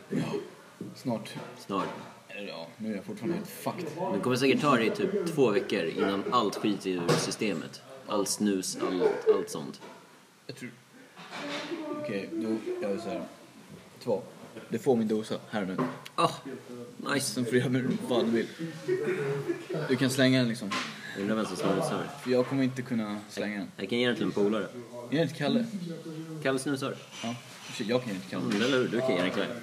Speaker 1: Snart.
Speaker 3: Snart.
Speaker 1: Eller ja, nu är jag fortfarande helt fucked.
Speaker 3: Det kommer säkert ta dig typ två veckor innan allt skit är ur systemet. All snus, allt, allt sånt.
Speaker 1: Jag tror... Okej, då gör vi så här. Två. Du får min dosa här nu.
Speaker 3: Ah,
Speaker 1: Sen
Speaker 3: nice.
Speaker 1: får du göra med vad fan du vill. Du kan slänga den liksom.
Speaker 3: Undrar vem som snusar.
Speaker 1: För jag kommer inte kunna slänga den.
Speaker 3: Jag kan ge den till en polare.
Speaker 1: Är det inte Kalle?
Speaker 3: Kalle snusar.
Speaker 1: Ja. Shit, jag kan ju inte Kalle.
Speaker 3: Mm, eller hur? Du kan ge den Kalle.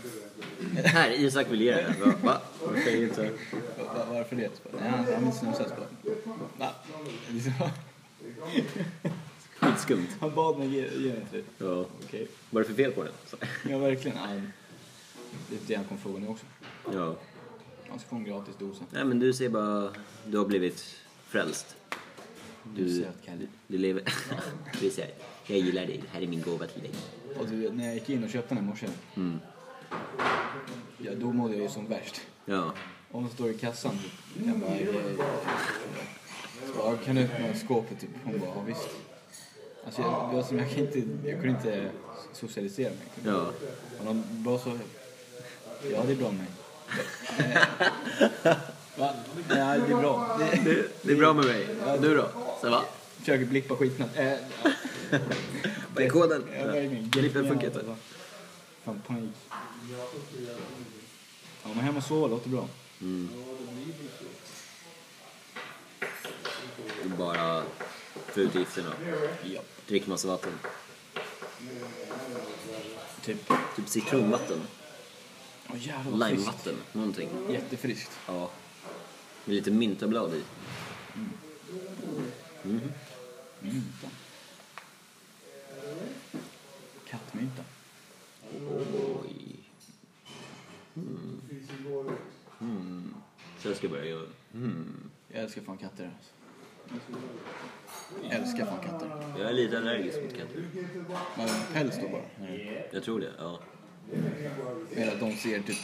Speaker 3: Här, Isak vill ge den. Va? Va? Varför är det inte?
Speaker 1: Va- va- Varför det? Så bara, Nej, han har inte snusat. Så bara, Va? Liksom,
Speaker 3: Skitskumt.
Speaker 1: Han bad mig ge ge den till dig.
Speaker 3: Ja, okej. Vad är det för fel på den? Så.
Speaker 1: Ja, verkligen. Nej. Det är det han kommer fråga nu också.
Speaker 3: Ja.
Speaker 1: Han ska få en gratis dosa.
Speaker 3: Nej, men du ser bara... Du har blivit frälst. Du,
Speaker 1: Söt Kalle.
Speaker 3: du lever... Vi säger, jag gillar dig. Det här är min gåva till dig.
Speaker 1: Och du, vet, när jag gick in och köpte den i morse,
Speaker 3: Mm.
Speaker 1: ja, då mådde jag ju som värst.
Speaker 3: Ja.
Speaker 1: Om hon står i kassan, typ, jag bara, "Hej, hej." Så bara, "Ja, kan du öppna skåpet? Typ. Hon bara, ja visst. Alltså, jag, jag, som, jag, kan inte, jag kunde inte socialisera mig. Typ.
Speaker 3: Ja.
Speaker 1: Har någon bra så... Ja, det är bra med mig. Va? Nej, det är bra. Det-
Speaker 3: Det, det är bra med mig. Du då? Så va?
Speaker 1: Försöker blippa skitsnabbt. Äh, ja,
Speaker 3: Vad är koden?
Speaker 1: jag verkligen.
Speaker 3: Gripen funkar inte.
Speaker 1: Alltså. Fan, panik. Ja, men hem och sova låter bra.
Speaker 3: Bara för utgifterna.
Speaker 1: Ja.
Speaker 3: Drick massa vatten.
Speaker 1: Typ.
Speaker 3: Typ citronvatten.
Speaker 1: Åh jävlar vad friskt.
Speaker 3: Limevatten. Någonting.
Speaker 1: Jättefriskt.
Speaker 3: Ja. Med lite myntablad i.
Speaker 1: Mynta. Kattmynta.
Speaker 3: Oj. Så jag ska börja göra. Mm.
Speaker 1: Jag älskar fan katter. Alltså. Jag älskar fan katter.
Speaker 3: Jag är lite allergisk mot katter.
Speaker 1: Men päls då bara. Nej.
Speaker 3: Jag tror det, ja.
Speaker 1: Mer att de ser typ...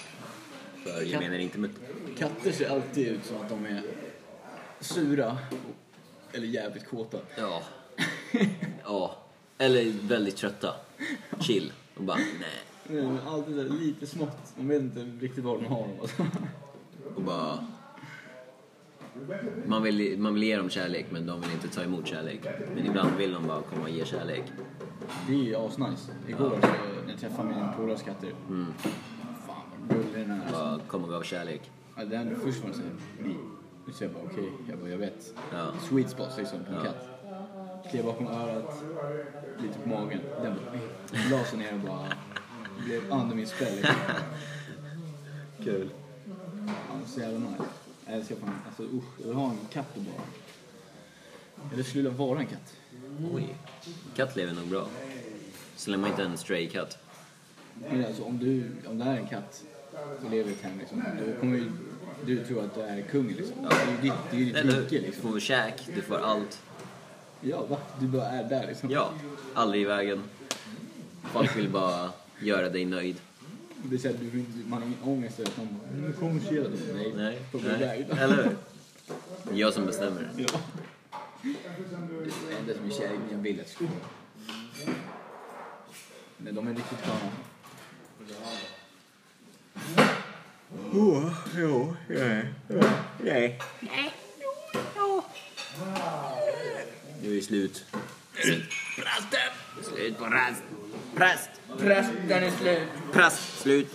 Speaker 3: För jag menar inte med...
Speaker 1: Katter ser alltid ut som att de är sura. Eller jävligt kåta.
Speaker 3: Ja. Ja. Eller väldigt trötta. Chill. Och bara nej.
Speaker 1: Nej, men alltid där, lite smått. De vet inte riktigt var de har dem. Alltså.
Speaker 3: Och bara... Man vill, man vill ge dem kärlek men de vill inte ta emot kärlek. Men ibland vill de bara komma och ge kärlek.
Speaker 1: Det är ju asnice. Igår så, när jag träffade mina polares katter.
Speaker 3: Mm.
Speaker 1: Fan vad gullig den är. Alltså.
Speaker 3: Bara komma och gav kärlek.
Speaker 1: Ja, det enda först var det såhär, nej. Så jag bara okej, jag bara jag vet.
Speaker 3: Ja.
Speaker 1: Sweet spot liksom på en
Speaker 3: Ja.
Speaker 1: katt. Klev bakom örat, lite på magen. Den bara, nej. la sig ner och bara blev under min spel. Liksom.
Speaker 3: Kul.
Speaker 1: Ja, Så jävla nice. Jag älskar fan, alltså usch, jag vill ha en katt och bara. Eller skulle vilja vara en katt.
Speaker 3: Oj. Katt lever nog bra. Så länge man inte är en stray katt.
Speaker 1: Men alltså om du, om det här är en katt och lever i ett hem liksom, då kommer ju du tro att du är kungen liksom. Det är ju ditt, det är ju ditt
Speaker 3: Eller
Speaker 1: rike
Speaker 3: hur? Du
Speaker 1: liksom.
Speaker 3: får käk, du får allt.
Speaker 1: Ja, va? Du bara är där liksom.
Speaker 3: Ja. Aldrig i vägen. Folk vill bara göra dig nöjd.
Speaker 1: Det är såhär, du, får inte- man har ingen ångest över att någon bara, "Mm, "Nu kommer tjejen. Nej,
Speaker 3: Nej.
Speaker 1: På min
Speaker 3: Nej.
Speaker 1: väg.
Speaker 3: Eller hur? Det är Jag som bestämmer.
Speaker 1: Ja. Det enda som är kär i mina bilder. Nej, de är riktigt sköna.
Speaker 3: Nej. Nu är det slut. Prasten! Slut på rast. Präst!
Speaker 1: Prästen är slut.
Speaker 3: Präst! Slut.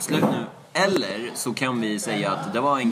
Speaker 3: Slut nu. Eller så kan vi säga att det var en